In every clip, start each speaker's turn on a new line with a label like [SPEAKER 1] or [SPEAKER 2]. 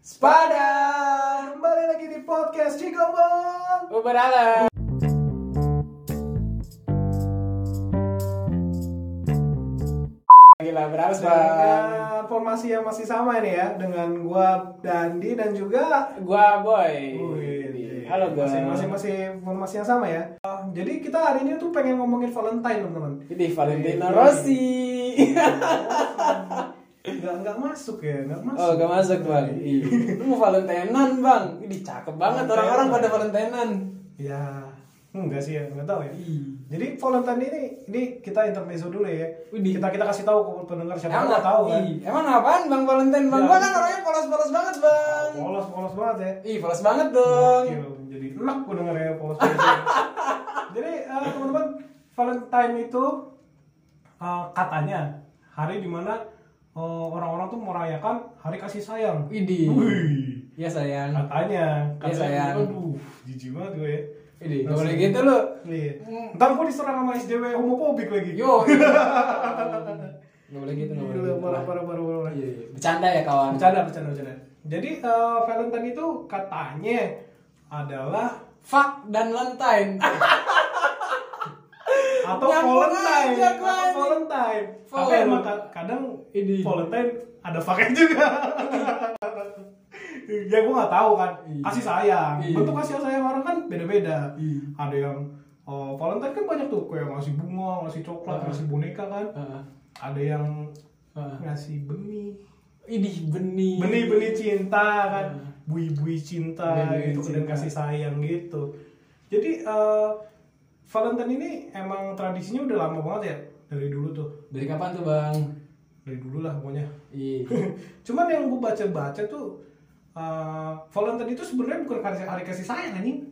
[SPEAKER 1] Spada
[SPEAKER 2] Kembali lagi di podcast Cigombong.
[SPEAKER 1] Uber Alam. Gila, berapa bang?
[SPEAKER 2] Dengan formasi yang masih sama ini ya dengan gua Dandi dan juga
[SPEAKER 1] Gua boy.
[SPEAKER 2] Wih, iya.
[SPEAKER 1] Halo boy.
[SPEAKER 2] masih, masih masih formasi yang sama ya. Uh, Jadi kita hari ini tuh pengen ngomongin Valentine teman-teman.
[SPEAKER 1] Ini Valentino
[SPEAKER 2] Wih.
[SPEAKER 1] Rossi.
[SPEAKER 2] Nggak nggak masuk ya, nggak masuk. Iya.
[SPEAKER 1] Oh, gak masuk bang. Ih, Lu mau Valentinean bang? Ini cakep banget orang-orang pada Valentinean.
[SPEAKER 2] Ya, enggak sih ya, nggak tahu ya.
[SPEAKER 1] Ih.
[SPEAKER 2] Jadi Valentine ini ini kita intermezzo dulu ya.
[SPEAKER 1] Widih. Iya.
[SPEAKER 2] Kita kita kasih tahu ke pendengar siapa
[SPEAKER 1] Emang
[SPEAKER 2] yang nggak tahu kan.
[SPEAKER 1] Ih, Emang apaan bang Valentine bang?
[SPEAKER 2] Ya.
[SPEAKER 1] Gua kan orangnya polos-polos banget bang.
[SPEAKER 2] Polos polos banget ya.
[SPEAKER 1] Ih, polos banget dong.
[SPEAKER 2] Gokil, jadi enak gue dengernya polos polos ya, jadi eh, teman-teman Valentine itu eh, katanya hari dimana eh, orang-orang tuh merayakan hari kasih sayang
[SPEAKER 1] Widih.
[SPEAKER 2] Wih,
[SPEAKER 1] Ya sayang.
[SPEAKER 2] katanya
[SPEAKER 1] Iya,
[SPEAKER 2] katanya gitu kan.
[SPEAKER 1] sayang.
[SPEAKER 2] aduh jijik banget gue ya
[SPEAKER 1] Ini kalau gitu lu.
[SPEAKER 2] Iya. Ntar gue diserang sama SJW homofobik lagi.
[SPEAKER 1] Hmm. Yo. Gak boleh gitu, gak boleh
[SPEAKER 2] Gila,
[SPEAKER 1] gitu.
[SPEAKER 2] parah, parah, parah, parah.
[SPEAKER 1] Iya, iya. Bercanda ya kawan.
[SPEAKER 2] Bercanda, bercanda, bercanda. Jadi eh, Valentine itu katanya adalah
[SPEAKER 1] Fuck dan Valentine.
[SPEAKER 2] atau
[SPEAKER 1] Nyampur
[SPEAKER 2] Valentine
[SPEAKER 1] aja, gua
[SPEAKER 2] atau
[SPEAKER 1] ini.
[SPEAKER 2] Valentine tapi
[SPEAKER 1] Vol-
[SPEAKER 2] emang ka- kadang
[SPEAKER 1] Ini.
[SPEAKER 2] Valentine ada fakir juga ya gue nggak tahu kan
[SPEAKER 1] Iya.
[SPEAKER 2] kasih sayang
[SPEAKER 1] Iya.
[SPEAKER 2] bentuk kasih sayang orang kan beda-beda
[SPEAKER 1] Iya.
[SPEAKER 2] ada yang oh, Valentine kan banyak tuh kayak ngasih bunga ngasih coklat
[SPEAKER 1] Ah.
[SPEAKER 2] ngasih boneka kan
[SPEAKER 1] Ah,
[SPEAKER 2] ada yang
[SPEAKER 1] ah.
[SPEAKER 2] ngasih benih
[SPEAKER 1] Ini benih.
[SPEAKER 2] benih-benih cinta kan
[SPEAKER 1] Iya.
[SPEAKER 2] bui-bui cinta
[SPEAKER 1] Bui-bui
[SPEAKER 2] gitu dan
[SPEAKER 1] cinta.
[SPEAKER 2] kasih sayang gitu jadi eh, Valentine ini emang tradisinya udah lama banget ya dari dulu tuh
[SPEAKER 1] Dari kapan tuh bang?
[SPEAKER 2] dari dulu lah pokoknya
[SPEAKER 1] Ih.
[SPEAKER 2] cuman yang gue baca-baca tuh eh, Valentine itu sebenarnya bukan hari, hari kasih sayang anjing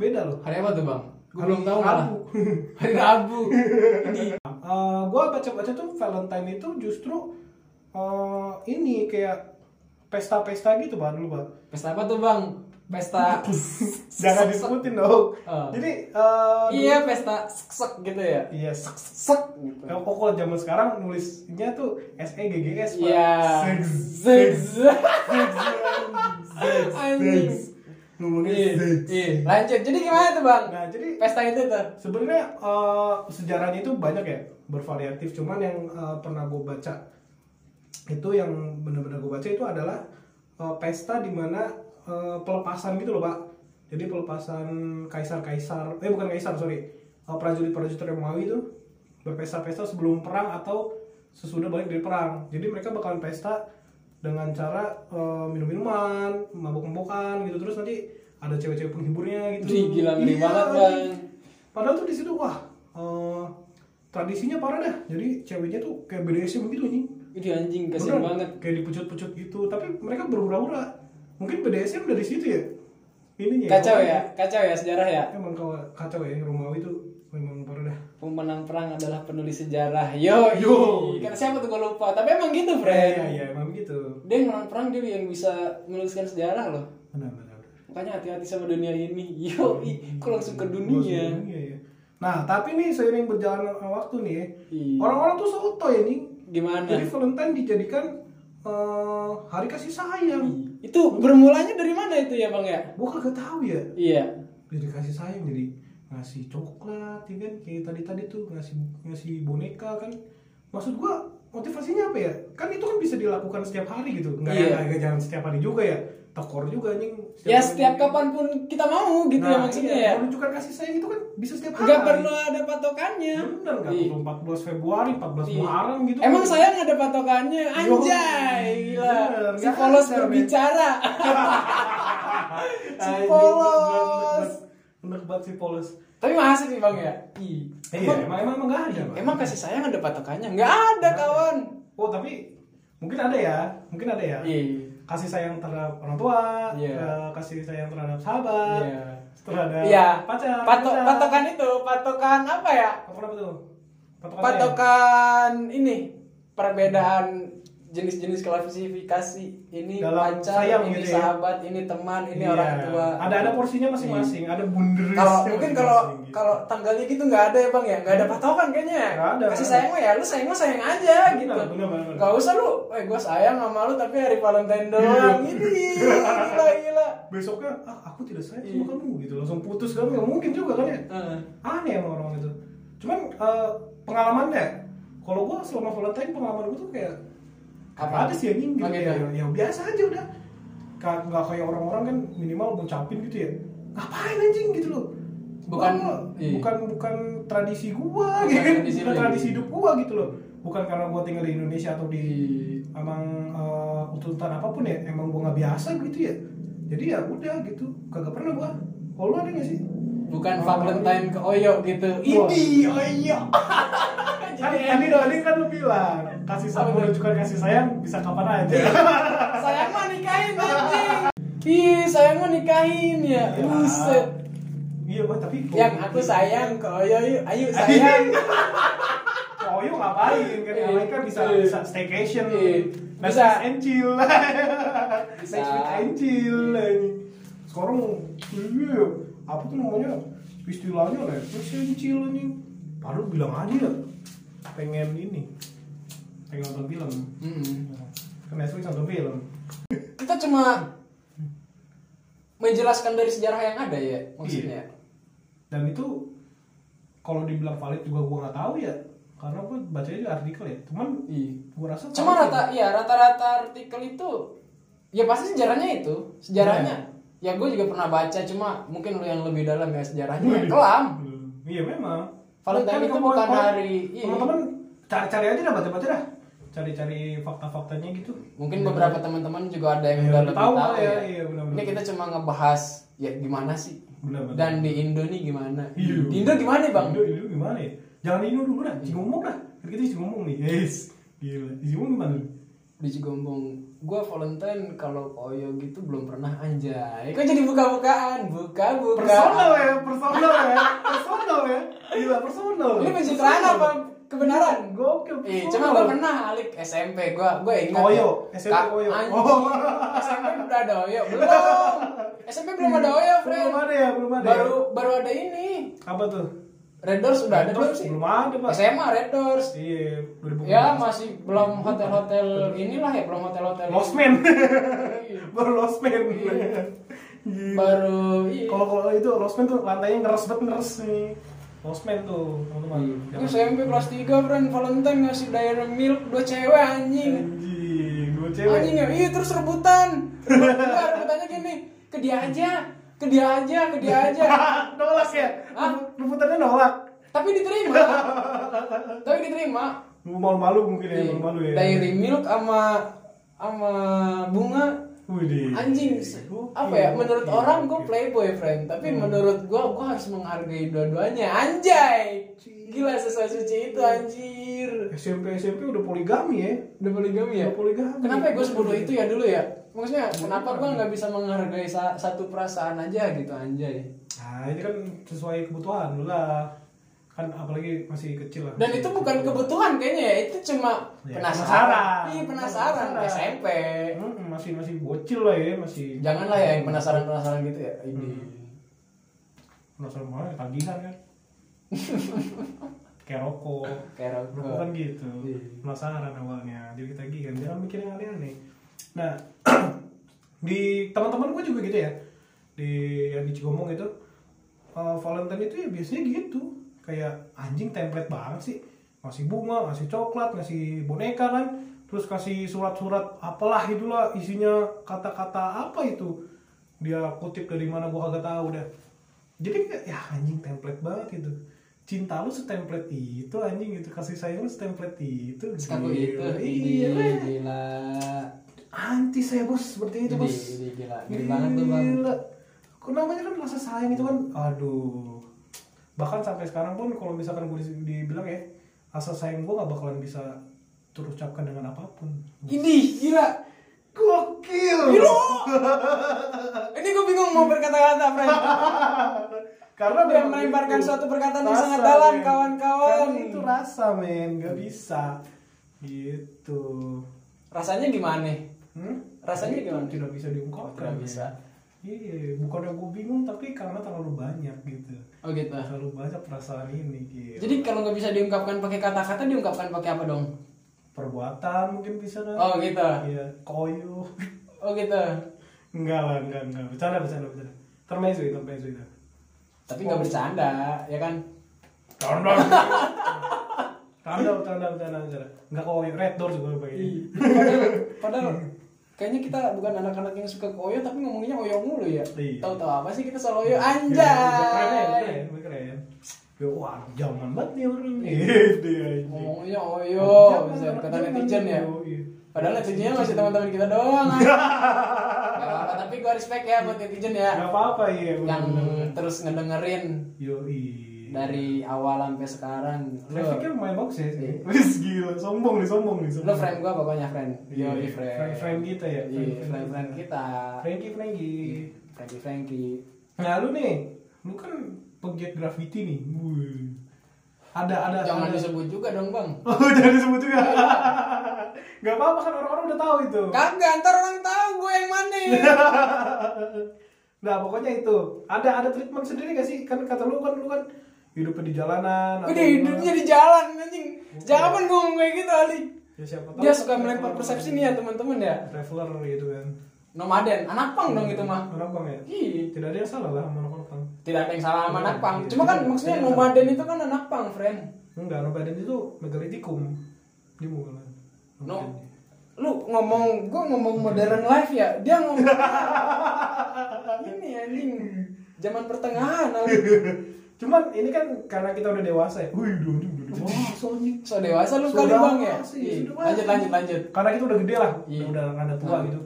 [SPEAKER 2] beda loh
[SPEAKER 1] Hari apa tuh bang? Gue
[SPEAKER 2] Hari
[SPEAKER 1] belum tahu malah.
[SPEAKER 2] Rabu.
[SPEAKER 1] Hari Rabu. Ini.
[SPEAKER 2] gue Eh, baca-baca tuh Valentine itu justru eh, ini kayak pesta-pesta gitu bah dulu bah
[SPEAKER 1] Pesta apa tuh bang? Pesta.
[SPEAKER 2] jangan disebutin dong
[SPEAKER 1] Ah.
[SPEAKER 2] jadi eh,
[SPEAKER 1] Iya pesta sek gitu ya.
[SPEAKER 2] Iya, sek
[SPEAKER 1] Sek gitu.
[SPEAKER 2] Kalau kok kalau zaman sekarang nulisnya tuh S E G G S Pak.
[SPEAKER 1] Iya.
[SPEAKER 2] Sex.
[SPEAKER 1] Sek.
[SPEAKER 2] Sex. Sex.
[SPEAKER 1] Anjing.
[SPEAKER 2] Sex. Ngomongnya
[SPEAKER 1] Ih,
[SPEAKER 2] sex.
[SPEAKER 1] ih. Lanjut. Jadi gimana tuh bang?
[SPEAKER 2] Nah, jadi
[SPEAKER 1] Pesta itu tuh.
[SPEAKER 2] sebenarnya eh, sejarahnya itu banyak ya, bervariatif. Cuman yang eh, pernah gue baca itu yang benar-benar gue baca itu adalah eh, pesta di mana eh, pelepasan gitu loh, Pak. Jadi pelepasan kaisar-kaisar, eh bukan kaisar, sorry. Eh, prajurit-prajurit Romawi itu berpesta-pesta sebelum perang atau sesudah balik dari perang. Jadi mereka bakalan pesta dengan cara eh, minum-minuman, mabuk-mabukan gitu terus nanti ada cewek-cewek penghiburnya gitu.
[SPEAKER 1] Ih, gila, ngeri
[SPEAKER 2] Iya,
[SPEAKER 1] banget,
[SPEAKER 2] anjing.
[SPEAKER 1] Bang.
[SPEAKER 2] Padahal tuh di situ wah eh, tradisinya parah dah. Jadi ceweknya tuh kayak BDSM gitu nih.
[SPEAKER 1] Ini anjing kasihan banget.
[SPEAKER 2] Kayak dipucut-pucut gitu. Tapi mereka berhura-hura. Mungkin BDSM dari situ ya. Ininya.
[SPEAKER 1] Kacau ya, kacau ya sejarah ya.
[SPEAKER 2] Emang kalau kacau ya Romawi tuh memang parah dah.
[SPEAKER 1] Pemenang perang adalah penulis sejarah. Yo,
[SPEAKER 2] Yo.
[SPEAKER 1] Kata siapa tuh gue lupa. Tapi emang gitu,
[SPEAKER 2] Iya
[SPEAKER 1] friend.
[SPEAKER 2] iya emang gitu.
[SPEAKER 1] Dia yang menang perang dia yang bisa menuliskan sejarah loh.
[SPEAKER 2] Benar benar.
[SPEAKER 1] Makanya hati-hati sama dunia ini. Yo, kok langsung ke dunia.
[SPEAKER 2] Iya iya. Nah tapi nih seiring berjalannya waktu nih, ya,
[SPEAKER 1] Iya.
[SPEAKER 2] orang-orang tuh soto ya nih. Jadi
[SPEAKER 1] Gimana?
[SPEAKER 2] Valentine dijadikan eh, hari kasih
[SPEAKER 1] Iya.
[SPEAKER 2] sayang.
[SPEAKER 1] Itu bermulanya dari mana itu ya, Bang ya?
[SPEAKER 2] Gue kagak tahu ya.
[SPEAKER 1] Iya.
[SPEAKER 2] jadi kasih sayang jadi ngasih coklat ya kan kayak tadi tadi tuh ngasih ngasih boneka kan maksud gua motivasinya apa ya kan itu kan bisa dilakukan setiap hari gitu nggak
[SPEAKER 1] Iya.
[SPEAKER 2] ya nggak jangan setiap hari juga ya tekor juga anjing
[SPEAKER 1] Ya
[SPEAKER 2] hari.
[SPEAKER 1] setiap kapanpun kita mau gitu ya
[SPEAKER 2] Nah,
[SPEAKER 1] maksudnya
[SPEAKER 2] iya,
[SPEAKER 1] ya.
[SPEAKER 2] menunjukkan kasih sayang itu kan bisa setiap hari
[SPEAKER 1] Gak perlu ada patokannya. Iya.
[SPEAKER 2] bener nggak
[SPEAKER 1] Ih.
[SPEAKER 2] perlu 14 Februari 14
[SPEAKER 1] Iya.
[SPEAKER 2] Muharram gitu
[SPEAKER 1] Emang sayang ada patokannya,
[SPEAKER 2] Yo,
[SPEAKER 1] anjay, gila.
[SPEAKER 2] bener,
[SPEAKER 1] Si
[SPEAKER 2] nggak
[SPEAKER 1] polos
[SPEAKER 2] ada,
[SPEAKER 1] berbicara. si
[SPEAKER 2] Anjing,
[SPEAKER 1] polos.
[SPEAKER 2] enak banget si polos
[SPEAKER 1] Tapi masih sih bang ya. Ih,
[SPEAKER 2] iya emang emang emang nggak ada Bang.
[SPEAKER 1] Emang kasih sayang ada patokannya? Nggak ada kawan.
[SPEAKER 2] oh tapi mungkin ada ya mungkin ada ya
[SPEAKER 1] Iya.
[SPEAKER 2] kasih sayang terhadap orang tua,
[SPEAKER 1] Iya.
[SPEAKER 2] eh, kasih sayang terhadap sahabat,
[SPEAKER 1] Iya.
[SPEAKER 2] terhadap
[SPEAKER 1] Iya.
[SPEAKER 2] pacar,
[SPEAKER 1] Pato-
[SPEAKER 2] pacar.
[SPEAKER 1] patokan itu, patokan apa ya?
[SPEAKER 2] ya? Apa kenapa tuh? Patokan,
[SPEAKER 1] Patokan ini perbedaan jenis-jenis klasifikasi ini
[SPEAKER 2] Dalam
[SPEAKER 1] pacar,
[SPEAKER 2] sayang
[SPEAKER 1] ini
[SPEAKER 2] gitu ya.
[SPEAKER 1] sahabat, ini teman, ini
[SPEAKER 2] Iya.
[SPEAKER 1] orang tua. Iya.
[SPEAKER 2] Ada ada porsinya masing-masing, ada bunderisnya.
[SPEAKER 1] Kalau mungkin kalau
[SPEAKER 2] masing-masing gitu.
[SPEAKER 1] kalau tanggalnya gitu nggak ada ya bang ya, nggak ada patokan kayaknya.
[SPEAKER 2] Hmm. Nggak ada.
[SPEAKER 1] Kasih sayang mah ya, lu sayang mah sayang aja
[SPEAKER 2] Benar,
[SPEAKER 1] gitu.
[SPEAKER 2] benar, benar, Iya. benar.
[SPEAKER 1] Gak usah lu, eh gue sayang sama lu tapi hari Valentine doang. ini gila gila.
[SPEAKER 2] besoknya ah aku tidak sayang
[SPEAKER 1] Iya.
[SPEAKER 2] sama kamu gitu langsung putus kan nggak mungkin juga kan ya
[SPEAKER 1] Heeh.
[SPEAKER 2] aneh emang orang itu cuman eh, pengalaman deh kalau gua selama Valentine pengalaman gua tuh kayak
[SPEAKER 1] Apa?
[SPEAKER 2] ada sih anjing gitu
[SPEAKER 1] Oke,
[SPEAKER 2] ya,
[SPEAKER 1] oke.
[SPEAKER 2] ya biasa aja udah Ka- nggak kayak orang-orang kan minimal ngucapin gitu ya ngapain anjing gitu loh
[SPEAKER 1] Bukan-
[SPEAKER 2] Gua-
[SPEAKER 1] iya.
[SPEAKER 2] bukan bukan tradisi
[SPEAKER 1] Bukan
[SPEAKER 2] gua gitu
[SPEAKER 1] tradisi
[SPEAKER 2] bukan
[SPEAKER 1] lu,
[SPEAKER 2] tradisi
[SPEAKER 1] iya.
[SPEAKER 2] hidup gua gitu loh bukan karena gua tinggal di Indonesia atau di
[SPEAKER 1] Iya.
[SPEAKER 2] emang eh, tuntutan apapun ya emang gua nggak biasa gitu ya jadi ya udah gitu kagak pernah gua kalau lu ada nggak sih
[SPEAKER 1] Bukan
[SPEAKER 2] Oh,
[SPEAKER 1] Valentine ke Oyo gitu.
[SPEAKER 2] Wah.
[SPEAKER 1] Ini Oyo.
[SPEAKER 2] tadi tadi tadi kan lu bilang kasih
[SPEAKER 1] Apa Iya.
[SPEAKER 2] sayang
[SPEAKER 1] tuh?
[SPEAKER 2] menunjukkan kasih sayang bisa kapan aja
[SPEAKER 1] sayang mah nikahin anjing. Ih, sayang mah nikahin ya. Buset.
[SPEAKER 2] iya gua tapi
[SPEAKER 1] Yang aku sayang ke Oyo yuk. Ayo sayang.
[SPEAKER 2] Iya. Oh, yuk ngapain kan?
[SPEAKER 1] Iya.
[SPEAKER 2] Mereka bisa
[SPEAKER 1] Iya.
[SPEAKER 2] bisa staycation,
[SPEAKER 1] Iya.
[SPEAKER 2] Netflix
[SPEAKER 1] Bisa.
[SPEAKER 2] and chill,
[SPEAKER 1] Bisa.
[SPEAKER 2] Netflix and chill. ini. Sekarang, iya, apa tuh namanya? Istilahnya Netflix and chill nih. Baru bilang aja ya, pengen ini, pengen nonton film.
[SPEAKER 1] Mm-mm.
[SPEAKER 2] Ke Netflix nonton film.
[SPEAKER 1] Kita cuma menjelaskan dari sejarah yang ada ya maksudnya.
[SPEAKER 2] Dan itu kalau dibilang valid juga gua nggak tahu ya, karena gua bacanya di artikel ya. Cuman
[SPEAKER 1] Iya.
[SPEAKER 2] gua rasa
[SPEAKER 1] Cuma
[SPEAKER 2] valid.
[SPEAKER 1] rata ya rata-rata artikel itu ya pasti sejarahnya itu sejarahnya.
[SPEAKER 2] Iya.
[SPEAKER 1] Ya gue juga pernah baca cuma mungkin lu yang lebih dalam ya sejarahnya. Kelam.
[SPEAKER 2] Hmm, Iya memang.
[SPEAKER 1] Valentine
[SPEAKER 2] Kan
[SPEAKER 1] itu
[SPEAKER 2] kawan-
[SPEAKER 1] bukan
[SPEAKER 2] kawan-
[SPEAKER 1] hari- iya.
[SPEAKER 2] Teman-teman cari-cari aja dah baca-baca dah. Cari-cari fakta-faktanya gitu.
[SPEAKER 1] Mungkin beberapa teman-teman juga ada yang
[SPEAKER 2] Iya,
[SPEAKER 1] udah
[SPEAKER 2] udah
[SPEAKER 1] lebih tahu,
[SPEAKER 2] tahu lah ya,
[SPEAKER 1] ya.
[SPEAKER 2] iya, benar-benar.
[SPEAKER 1] Ini kita cuma ngebahas ya gimana sih
[SPEAKER 2] Benar-benar.
[SPEAKER 1] dan di Indo nih gimana?
[SPEAKER 2] Iya.
[SPEAKER 1] Di Indo gimana bang?
[SPEAKER 2] Indo, Indo gimana ya? Jangan Indo dulu dah, isi ngomong dah. Kan kita isi ngomong nih. Yes. Gila. Isi ngomong gimana?
[SPEAKER 1] Di Cigombong, gue Valentine kalau koyo gitu belum pernah anjay. Kok jadi buka-bukaan, buka-buka.
[SPEAKER 2] Personal ya, personal ya. Personal ya. Gila, personal.
[SPEAKER 1] Ini pencitraan
[SPEAKER 2] Personal.
[SPEAKER 1] apa kebenaran?
[SPEAKER 2] Gokil.
[SPEAKER 1] Eh,
[SPEAKER 2] personal.
[SPEAKER 1] cuma gue pernah alik SMP gue, gue ingat.
[SPEAKER 2] Oyo,
[SPEAKER 1] ya.
[SPEAKER 2] SMP
[SPEAKER 1] Kak,
[SPEAKER 2] Oyo.
[SPEAKER 1] anjing,
[SPEAKER 2] Oh.
[SPEAKER 1] SMP udah ada Oyo belum? SMP belum ada Oyo, friend.
[SPEAKER 2] Belum ada ya, belum ada. ya?
[SPEAKER 1] Baru baru ada ini.
[SPEAKER 2] apa tuh?
[SPEAKER 1] Red Doors udah ada
[SPEAKER 2] Terus
[SPEAKER 1] belum sih?
[SPEAKER 2] Belum ada, Pak.
[SPEAKER 1] SMA Red Doors.
[SPEAKER 2] Iya, 2014.
[SPEAKER 1] Ya masih belum hotel-hotel inilah ya, belum hotel-hotel.
[SPEAKER 2] Losmen. Baru losmen.
[SPEAKER 1] Iya. Baru iya.
[SPEAKER 2] Kalau kalau itu losmen tuh lantainya ngeres banget ngeres nih. Losmen tuh, teman-teman.
[SPEAKER 1] Gue SMP kelas 3 friend Valentine ngasih Diary Milk dua cewek anjing.
[SPEAKER 2] Anjing, gue cewek.
[SPEAKER 1] Anjing ya, iya terus rebutan. Rebutan, rebutannya gini, ke dia aja, ke dia aja, ke dia aja.
[SPEAKER 2] nolak ya?
[SPEAKER 1] Hah?
[SPEAKER 2] Rebutannya nolak.
[SPEAKER 1] Tapi diterima. Tapi diterima.
[SPEAKER 2] Lu malu-malu mungkin ya,
[SPEAKER 1] Iya.
[SPEAKER 2] malu-malu ya.
[SPEAKER 1] Diary Milk sama sama bunga
[SPEAKER 2] Widih.
[SPEAKER 1] anjing se- apa ya menurut
[SPEAKER 2] iya, Gokil,
[SPEAKER 1] orang gue
[SPEAKER 2] gokil. Hmm.
[SPEAKER 1] playboy friend tapi menurut gue gue harus menghargai dua-duanya anjay gila sesuai suci itu anjir
[SPEAKER 2] SMP SMP udah poligami ya.
[SPEAKER 1] udah poligami ya
[SPEAKER 2] Udah poligami.
[SPEAKER 1] kenapa ya gue sebodoh itu
[SPEAKER 2] gitu?
[SPEAKER 1] ya dulu ya maksudnya kenapa gue nggak bisa menghargai sa- satu perasaan aja gitu anjay
[SPEAKER 2] Nah, ini kan sesuai kebutuhan lu lah. Kan apalagi masih kecil lah.
[SPEAKER 1] dan itu bukan kebutuhan kayaknya ya itu cuma
[SPEAKER 2] Ya, penasaran.
[SPEAKER 1] penasaran iya penasaran
[SPEAKER 2] Penasaran.
[SPEAKER 1] SMP
[SPEAKER 2] Mm, masih masih bocil lah ya masih
[SPEAKER 1] janganlah ya yang penasaran penasaran gitu ya ini
[SPEAKER 2] penasaran banget tagihan kan kayak rokok
[SPEAKER 1] kayak
[SPEAKER 2] rokok kan
[SPEAKER 1] rokok
[SPEAKER 2] gitu
[SPEAKER 1] Iya.
[SPEAKER 2] penasaran awalnya jadi kita tagihan jangan mikir yang aneh-aneh nah di teman-teman gue juga gitu ya di yang di Cigomong itu eh, Valentine itu ya biasanya gitu kayak anjing template banget sih ngasih bunga ngasih coklat ngasih boneka kan terus kasih surat-surat apalah itulah isinya kata-kata apa itu dia kutip dari mana gua kagak tahu dah jadi kayak, ya anjing template banget gitu cinta lu setemplate itu anjing gitu kasih sayang lu setemplate itu
[SPEAKER 1] sekaku
[SPEAKER 2] Gila,
[SPEAKER 1] itu Kan gitu.
[SPEAKER 2] iya
[SPEAKER 1] ini
[SPEAKER 2] lah.
[SPEAKER 1] gila
[SPEAKER 2] anti saya bos seperti itu
[SPEAKER 1] Gede,
[SPEAKER 2] bos
[SPEAKER 1] gede, gila. Gede banget tuh, Bang.
[SPEAKER 2] Gila. Kok namanya kan rasa sayang itu kan aduh bahkan sampai sekarang pun kalau misalkan gue dibilang ya rasa sayang gue gak bakalan bisa terucapkan dengan apapun
[SPEAKER 1] Ini gila.
[SPEAKER 2] gokil
[SPEAKER 1] Gila. Ini gue bingung mau berkata-kata, Friend.
[SPEAKER 2] karena
[SPEAKER 1] Dia
[SPEAKER 2] memang
[SPEAKER 1] melemparkan
[SPEAKER 2] itu
[SPEAKER 1] suatu perkataan yang
[SPEAKER 2] rasa,
[SPEAKER 1] sangat dalam,
[SPEAKER 2] men.
[SPEAKER 1] kawan-kawan.
[SPEAKER 2] Karena itu rasa men gak bisa gitu
[SPEAKER 1] rasanya gimana
[SPEAKER 2] Hmm?
[SPEAKER 1] Rasanya
[SPEAKER 2] Itu
[SPEAKER 1] gimana?
[SPEAKER 2] Tidak bisa diungkapkan. ya.
[SPEAKER 1] Tidak bisa.
[SPEAKER 2] Iya, bukannya gue bingung tapi karena terlalu banyak gitu.
[SPEAKER 1] oh gitu
[SPEAKER 2] Terlalu banyak perasaan ini gitu.
[SPEAKER 1] jadi kalau nggak bisa diungkapkan pakai kata-kata diungkapkan pakai apa dong
[SPEAKER 2] perbuatan mungkin bisa kan?
[SPEAKER 1] oh gitu
[SPEAKER 2] Iya, koyu.
[SPEAKER 1] oh gitu
[SPEAKER 2] enggak lah, enggak, enggak. Bercanda, bercanda, bercanda. Termesu itu, termesu itu.
[SPEAKER 1] tapi nggak
[SPEAKER 2] Oh.
[SPEAKER 1] bercanda ya kan
[SPEAKER 2] Bercanda. Bercanda, bercanda, bercanda, bercanda. Enggak koyo, red door juga
[SPEAKER 1] Iya.
[SPEAKER 2] pakai.
[SPEAKER 1] padahal, padahal kayaknya kita bukan anak-anak yang suka koyo tapi ngomongnya koyo mulu ya
[SPEAKER 2] Iya.
[SPEAKER 1] tahu-tahu apa sih kita soal koyo
[SPEAKER 2] Keren,
[SPEAKER 1] anjay
[SPEAKER 2] keren, keren. Ya, wah, zaman banget nih orang Iya, nih. Dia anjing.
[SPEAKER 1] ngomongnya
[SPEAKER 2] Jangan,
[SPEAKER 1] koyo bisa
[SPEAKER 2] jangan,
[SPEAKER 1] kata
[SPEAKER 2] jangan, iya.
[SPEAKER 1] netizen ya
[SPEAKER 2] yoi.
[SPEAKER 1] padahal netizennya masih teman-teman kita doang Gak apa-apa, tapi gue respect ya buat netizen ya
[SPEAKER 2] Gak apa-apa iya.
[SPEAKER 1] yang terus ngedengerin
[SPEAKER 2] Yoi.
[SPEAKER 1] dari awal sampai sekarang. Lo,
[SPEAKER 2] Trafficnya lumayan bagus ya. sih.
[SPEAKER 1] Iya.
[SPEAKER 2] Wis gila, sombong nih, sombong nih.
[SPEAKER 1] lo frame gue pokoknya friend.
[SPEAKER 2] Iya,
[SPEAKER 1] Yo,
[SPEAKER 2] iya.
[SPEAKER 1] friend.
[SPEAKER 2] Frame- frame kita ya,
[SPEAKER 1] Iya,
[SPEAKER 2] frame-
[SPEAKER 1] frame
[SPEAKER 2] frame
[SPEAKER 1] frame
[SPEAKER 2] kita.
[SPEAKER 1] kita. Iya,
[SPEAKER 2] Frankie, Frankie.
[SPEAKER 1] Frankie Frankie.
[SPEAKER 2] Nah lu nih, lu kan penggiat graffiti nih. Wuih. Ada ada.
[SPEAKER 1] Jangan
[SPEAKER 2] ada.
[SPEAKER 1] disebut juga dong bang.
[SPEAKER 2] Oh jangan disebut juga. Gak apa-apa kan orang-orang udah tahu itu.
[SPEAKER 1] Kagak, ntar orang tahu gue yang mana.
[SPEAKER 2] Nah pokoknya itu ada ada treatment sendiri gak sih? Kan kata lu kan lu kan hidupnya di jalanan.
[SPEAKER 1] Gue
[SPEAKER 2] apa
[SPEAKER 1] di hidupnya di jalan anjing. Jangan gue ngomong kayak gitu Ali.
[SPEAKER 2] gimana. Ya, siapa tahu
[SPEAKER 1] Dia suka melempar persepsi nih ya teman-teman ya.
[SPEAKER 2] Traveler gitu kan.
[SPEAKER 1] Nomaden, anak pang dong itu mah.
[SPEAKER 2] Orang bang ya.
[SPEAKER 1] Iya.
[SPEAKER 2] Tidak ada yang salah lah sama orang bang.
[SPEAKER 1] Tidak ada yang salah sama anak pang. Cuma kan maksudnya
[SPEAKER 2] Iya.
[SPEAKER 1] nomaden itu kan anak pang, friend.
[SPEAKER 2] Enggak, nomaden itu megalitikum. Dia mau kan.
[SPEAKER 1] No. Lu ngomong, gue ngomong modern life ya. Dia ngomong ini anjing zaman pertengahan. Ali.
[SPEAKER 2] Cuman ini kan karena kita udah dewasa ya. Wih, udah udah udah dewasa anjing.
[SPEAKER 1] So dewasa lu
[SPEAKER 2] So
[SPEAKER 1] kali bang ya.
[SPEAKER 2] dewasa,
[SPEAKER 1] Iya.
[SPEAKER 2] so dewasa.
[SPEAKER 1] Lanjut lanjut lanjut.
[SPEAKER 2] Karena kita udah gede lah,
[SPEAKER 1] Iya.
[SPEAKER 2] udah udah rada tua
[SPEAKER 1] Nah.
[SPEAKER 2] gitu.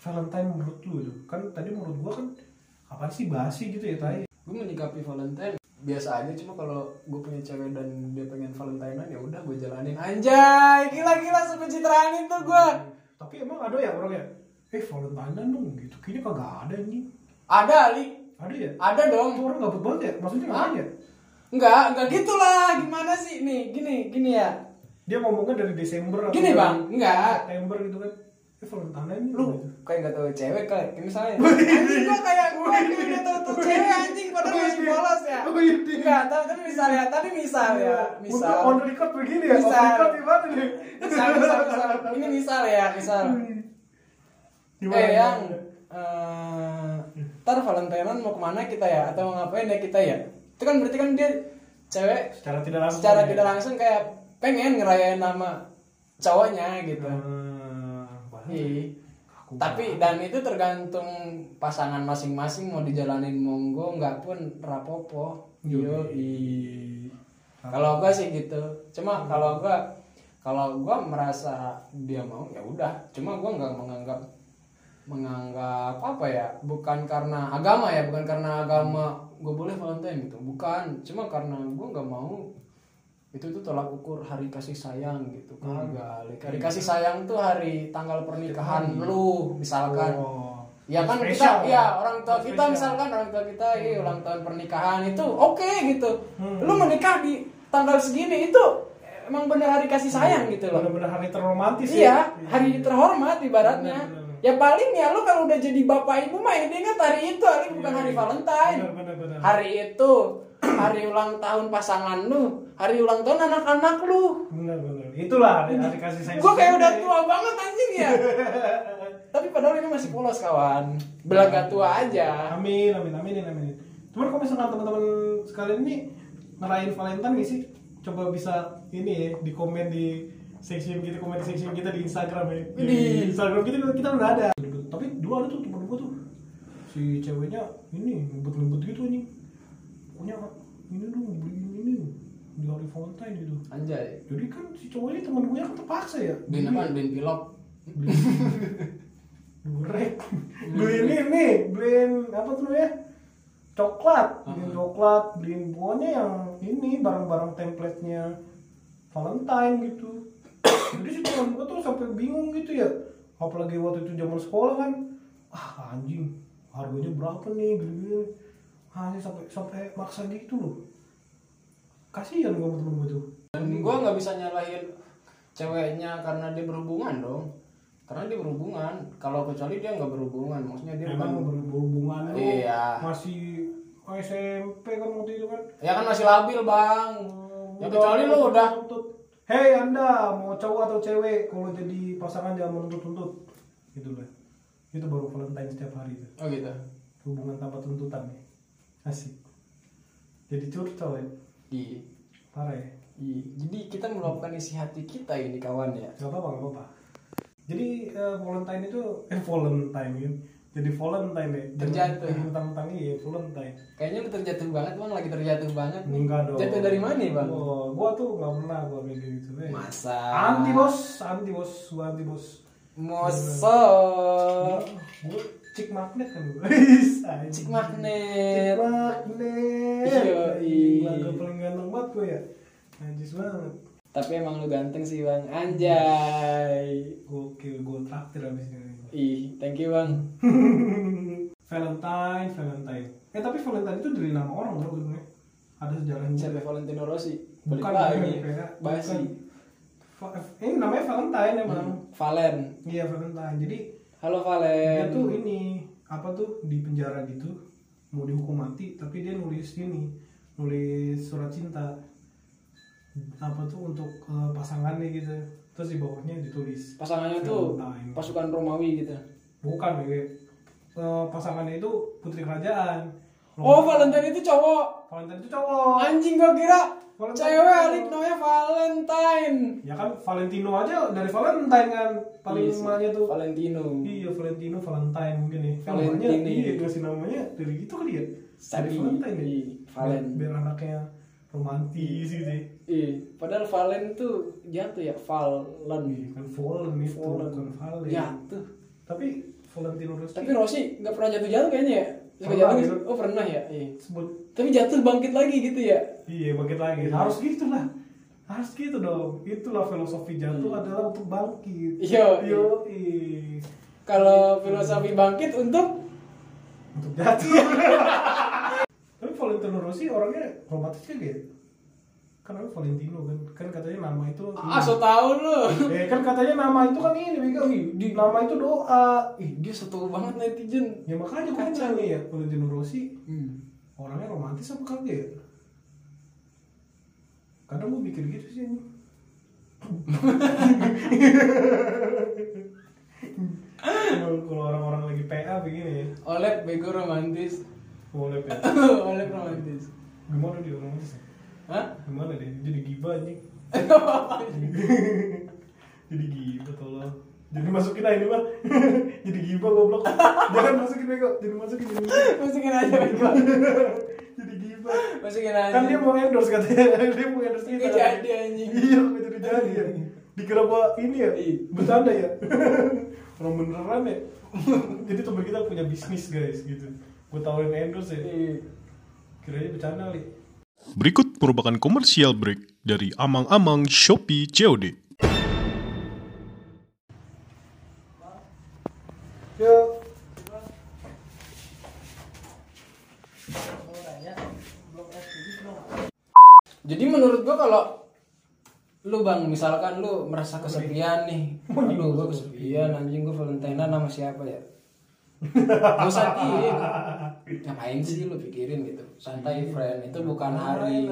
[SPEAKER 2] Valentine menurut lu itu kan tadi menurut gua kan apa sih basi gitu ya tai.
[SPEAKER 1] Gue menyikapi Valentine biasa aja cuma kalau gue punya cewek dan dia pengen Valentinean ya udah gue jalanin anjay gila gila sepencitraan itu gue
[SPEAKER 2] Tapi emang ada ya orang ya, eh Valentine dong gitu. Kayaknya kagak ada anjing.
[SPEAKER 1] ada Ali
[SPEAKER 2] Ada ya?
[SPEAKER 1] ada dong
[SPEAKER 2] Itu orang gabut banget ya? Maksudnya ngapain ya?
[SPEAKER 1] enggak enggak gitulah gimana sih nih gini gini ya
[SPEAKER 2] Dia ngomongnya dari Desember atau
[SPEAKER 1] gini
[SPEAKER 2] dari
[SPEAKER 1] bang enggak
[SPEAKER 2] September gitu kan. Eh Valentine
[SPEAKER 1] lu
[SPEAKER 2] dong.
[SPEAKER 1] kayak nggak tahu cewek kayak kayak misalnya anjing gua kayak gua kayak nggak tahu tuh cewek anjing padahal masih polos ya
[SPEAKER 2] Widih.
[SPEAKER 1] nggak tahu tapi misalnya tadi misalnya ya, misal
[SPEAKER 2] Untuk on record begini ya?
[SPEAKER 1] Misal.
[SPEAKER 2] On record gimana nih?
[SPEAKER 1] misal misal misal ini misal ya misal
[SPEAKER 2] Gimana?
[SPEAKER 1] eh yang eh, ntar Valentinean mau kemana kita ya atau mau ngapain ya kita ya itu kan berarti kan dia cewek
[SPEAKER 2] Secara tidak langsung.
[SPEAKER 1] secara
[SPEAKER 2] ya?
[SPEAKER 1] tidak langsung kayak pengen ngerayain nama cowoknya gitu
[SPEAKER 2] Hmm, bahaya.
[SPEAKER 1] Iya.
[SPEAKER 2] Kaku
[SPEAKER 1] Tapi
[SPEAKER 2] banget.
[SPEAKER 1] dan itu tergantung pasangan masing-masing mau dijalanin monggo nggak pun rapopo. Yo Kalau gua sih gitu. Cuma kalau gua kalau gua merasa dia mau ya udah. Cuma gua nggak menganggap menganggap apa ya? Bukan karena agama ya, bukan karena agama gue boleh Valentine gitu. Bukan. Cuma karena gua nggak mau itu tuh tolak ukur hari kasih sayang gitu
[SPEAKER 2] Hmm.
[SPEAKER 1] kagak Lik.
[SPEAKER 2] Iya.
[SPEAKER 1] hari kasih sayang tuh hari tanggal pernikahan lu misalkan
[SPEAKER 2] Oh.
[SPEAKER 1] ya kan
[SPEAKER 2] Spesial.
[SPEAKER 1] kita ya orang tua kita
[SPEAKER 2] Spesial.
[SPEAKER 1] misalkan orang tua kita iya, ulang tahun pernikahan itu oke gitu
[SPEAKER 2] Hmm.
[SPEAKER 1] lu menikah di tanggal segini itu emang bener hari kasih
[SPEAKER 2] Hmm.
[SPEAKER 1] sayang gitu loh
[SPEAKER 2] Bener-bener hari terromantis ya?
[SPEAKER 1] Iya, hari terhormat ibaratnya.
[SPEAKER 2] Benar, benar.
[SPEAKER 1] Ya paling ya lu kalau udah jadi bapak ibu mah ya dia ingat hari itu, hari bukan
[SPEAKER 2] Iya,
[SPEAKER 1] hari
[SPEAKER 2] iya.
[SPEAKER 1] Valentine.
[SPEAKER 2] Benar, benar, benar.
[SPEAKER 1] Hari itu hari ulang tahun pasangan lu, hari ulang tahun anak-anak lu.
[SPEAKER 2] Bener-bener. Itulah hari, hari kasih sayang.
[SPEAKER 1] Gue kayak udah tua banget anjing ya. Tapi padahal ini masih polos kawan. Belaga tua aja.
[SPEAKER 2] Amin, amin, amin, amin. Cuman kalau misalkan teman-teman sekalian ini ngerayain Valentine gak sih? Coba bisa ini ya di komen di section kita, komen di section kita di Instagram ya.
[SPEAKER 1] Widih.
[SPEAKER 2] Di Instagram kita kita udah ada. Tapi dulu ada tuh temen gue tuh si ceweknya ini ngebut-ngebut gitu nih. Punya ini dong beliin ini di hari Valentine gitu.
[SPEAKER 1] Anjay.
[SPEAKER 2] Jadi kan si cowok ini temen gue kan terpaksa ya.
[SPEAKER 1] Bin apaan? Bin pilok.
[SPEAKER 2] Durek. beliin ini, beliin apa tuh namanya? Coklat, beliin coklat, beliin pokoknya yang ini barang-barang template-nya Valentine gitu. Jadi sih teman gue tuh sampai bingung gitu ya. Apalagi waktu itu zaman sekolah kan, ah anjing, harganya berapa nih? Gini, anjing sampai sampai maksa gitu loh. Kasihan gue sama temen gue tuh.
[SPEAKER 1] Dan gue nggak bisa nyalahin ceweknya karena dia berhubungan dong karena dia berhubungan kalau kecuali dia nggak berhubungan maksudnya dia kan
[SPEAKER 2] emang
[SPEAKER 1] bukan
[SPEAKER 2] berhubungan lu
[SPEAKER 1] Iya.
[SPEAKER 2] masih SMP kan waktu itu kan
[SPEAKER 1] ya kan masih labil bang ya
[SPEAKER 2] Udah,
[SPEAKER 1] kecuali lu udah
[SPEAKER 2] tuntut. Hei anda mau cowok atau cewek kalau jadi pasangan jangan menuntut-tuntut gitu lah itu baru Valentine setiap hari itu
[SPEAKER 1] oh gitu
[SPEAKER 2] hubungan tanpa tuntutan ya asik jadi curcol ya
[SPEAKER 1] iya
[SPEAKER 2] parah ya
[SPEAKER 1] Iya. jadi kita meluapkan isi hati kita ini kawan ya
[SPEAKER 2] Gak apa-apa, gak apa-apa. Jadi eh, Valentine itu eh Valentine ya. Jadi Valentine ya. Jangan-
[SPEAKER 1] Terjatuh.
[SPEAKER 2] jangan Mentang-mentang iya Valentine.
[SPEAKER 1] kayaknya lu terjatuh banget bang lagi terjatuh banget nih
[SPEAKER 2] Enggak dong.
[SPEAKER 1] jatuh dari mana nih bang
[SPEAKER 2] Wah, gua tuh gak pernah gua kayak gitu. Eh.
[SPEAKER 1] masa
[SPEAKER 2] Anti bos, anti bos, gua anti bos.
[SPEAKER 1] moso
[SPEAKER 2] Gua- gua cik magnet kan gua.
[SPEAKER 1] cik
[SPEAKER 2] cik
[SPEAKER 1] magnet
[SPEAKER 2] Cik magnet.
[SPEAKER 1] Iya, iya.
[SPEAKER 2] Gua gak paling ganteng banget gua ya. Najis banget.
[SPEAKER 1] tapi emang lu ganteng sih bang anjay
[SPEAKER 2] Gokil, gua traktir abis ini.
[SPEAKER 1] ih thank you bang
[SPEAKER 2] Valentine, Valentine. Eh tapi Valentine itu dari nama orang bro sebenarnya. Ada sejarahnya. juga.
[SPEAKER 1] Siapa Valentino Rossi? Balik
[SPEAKER 2] Bukan,
[SPEAKER 1] lagi.
[SPEAKER 2] bukan, ya.
[SPEAKER 1] Basi. Hmm,
[SPEAKER 2] Bukan. Va- Ini namanya Valentine emang.
[SPEAKER 1] Valen.
[SPEAKER 2] Iya Valentine. Jadi
[SPEAKER 1] Halo Valen.
[SPEAKER 2] dia tuh ini apa tuh di penjara gitu mau dihukum mati tapi dia nulis ini nulis surat cinta apa tuh untuk eh, pasangannya gitu terus di bawahnya ditulis
[SPEAKER 1] Pasangannya tuh
[SPEAKER 2] Valentine.
[SPEAKER 1] pasukan Romawi gitu.
[SPEAKER 2] bukan ya Eh, pasangannya itu putri kerajaan
[SPEAKER 1] Oh, Valentine itu cowok.
[SPEAKER 2] Valentine itu cowok
[SPEAKER 1] Anjing gua kira
[SPEAKER 2] Valentine.
[SPEAKER 1] cewek Arik namanya Valentine.
[SPEAKER 2] Ya kan Valentino aja dari Valentine kan paling
[SPEAKER 1] Iya sih,
[SPEAKER 2] emaknya tuh.
[SPEAKER 1] Valentino.
[SPEAKER 2] Iya Valentino Valentine mungkin ya. Kan
[SPEAKER 1] Valentini.
[SPEAKER 2] namanya, Iya kasih namanya dari gitu kali ya. Dari
[SPEAKER 1] Sabi.
[SPEAKER 2] Valentine ya.
[SPEAKER 1] Iya, Valen.
[SPEAKER 2] Biar, biar anaknya romantis gitu ya.
[SPEAKER 1] Ih, Iya, padahal Valen tuh jatuh ya
[SPEAKER 2] Iya
[SPEAKER 1] Valen.
[SPEAKER 2] kan Valen itu
[SPEAKER 1] Valen.
[SPEAKER 2] bukan Valen.
[SPEAKER 1] Jatuh.
[SPEAKER 2] Tapi Valentino Rossi
[SPEAKER 1] Ya. Tapi Rossi nggak pernah jatuh-jatuh kayaknya ya? Nggak
[SPEAKER 2] Pernah,
[SPEAKER 1] jatuh nggak
[SPEAKER 2] gitu.
[SPEAKER 1] sih? Oh pernah ya? Iya.
[SPEAKER 2] sebut
[SPEAKER 1] Tapi jatuh bangkit lagi gitu ya?
[SPEAKER 2] iya bangkit lagi. Harus gitu lah. Harus gitu dong. Itulah filosofi jatuh adalah untuk bangkit.
[SPEAKER 1] Iya.
[SPEAKER 2] Yo. iya.
[SPEAKER 1] Kalau filosofi bangkit untuk
[SPEAKER 2] untuk jatuh
[SPEAKER 1] Iya.
[SPEAKER 2] tapi Valentino Rossi orangnya romantis kan ya kan namanya Valentino kan kan katanya nama itu
[SPEAKER 1] ah so tau lu.
[SPEAKER 2] eh kan katanya nama itu kan ini Bego Ih, di nama itu doa
[SPEAKER 1] Ih, dia setol banget netizen.
[SPEAKER 2] ya makanya gua bilang nih ya Valentino Rossi
[SPEAKER 1] Hmm.
[SPEAKER 2] orangnya romantis apa kagak ya kadang gua mikir gitu sih Kalau- kalau orang-orang lagi PA begini ya
[SPEAKER 1] Oleh bego romantis.
[SPEAKER 2] boleh ya
[SPEAKER 1] Oleh romantis.
[SPEAKER 2] gimana dia romantis ya?
[SPEAKER 1] Hah?
[SPEAKER 2] gimana deh jadi gibah anjing jadi gibah tolong jadi masukin aja ini mah jadi gibah goblok jangan masukin bego jadi masukin jadi, masukin.
[SPEAKER 1] Masukin aja bego.
[SPEAKER 2] jadi gibah
[SPEAKER 1] Masukin aja.
[SPEAKER 2] kan dia mau endorse katanya dia mau endorse kita
[SPEAKER 1] Nggak jadi, anjing.
[SPEAKER 2] iya nggak jadi jadi ya dikira gua ini ya
[SPEAKER 1] Iya.
[SPEAKER 2] bercanda ya orang beneran ya jadi temen kita punya bisnis guys gitu gua tawarin endorse ya
[SPEAKER 1] Ih,
[SPEAKER 2] kiranya bercanda kali
[SPEAKER 3] Berikut merupakan komersial break dari Amang-Amang Shopee COD.
[SPEAKER 2] ya
[SPEAKER 1] Jadi menurut gua kalau lu bang misalkan lu merasa kesepian nih aduh gua kesepian anjing gua valentinean sama siapa ya gak usah pikirin ngapain sih lu pikirin gitu santai
[SPEAKER 2] Iya.
[SPEAKER 1] friend itu bukan hari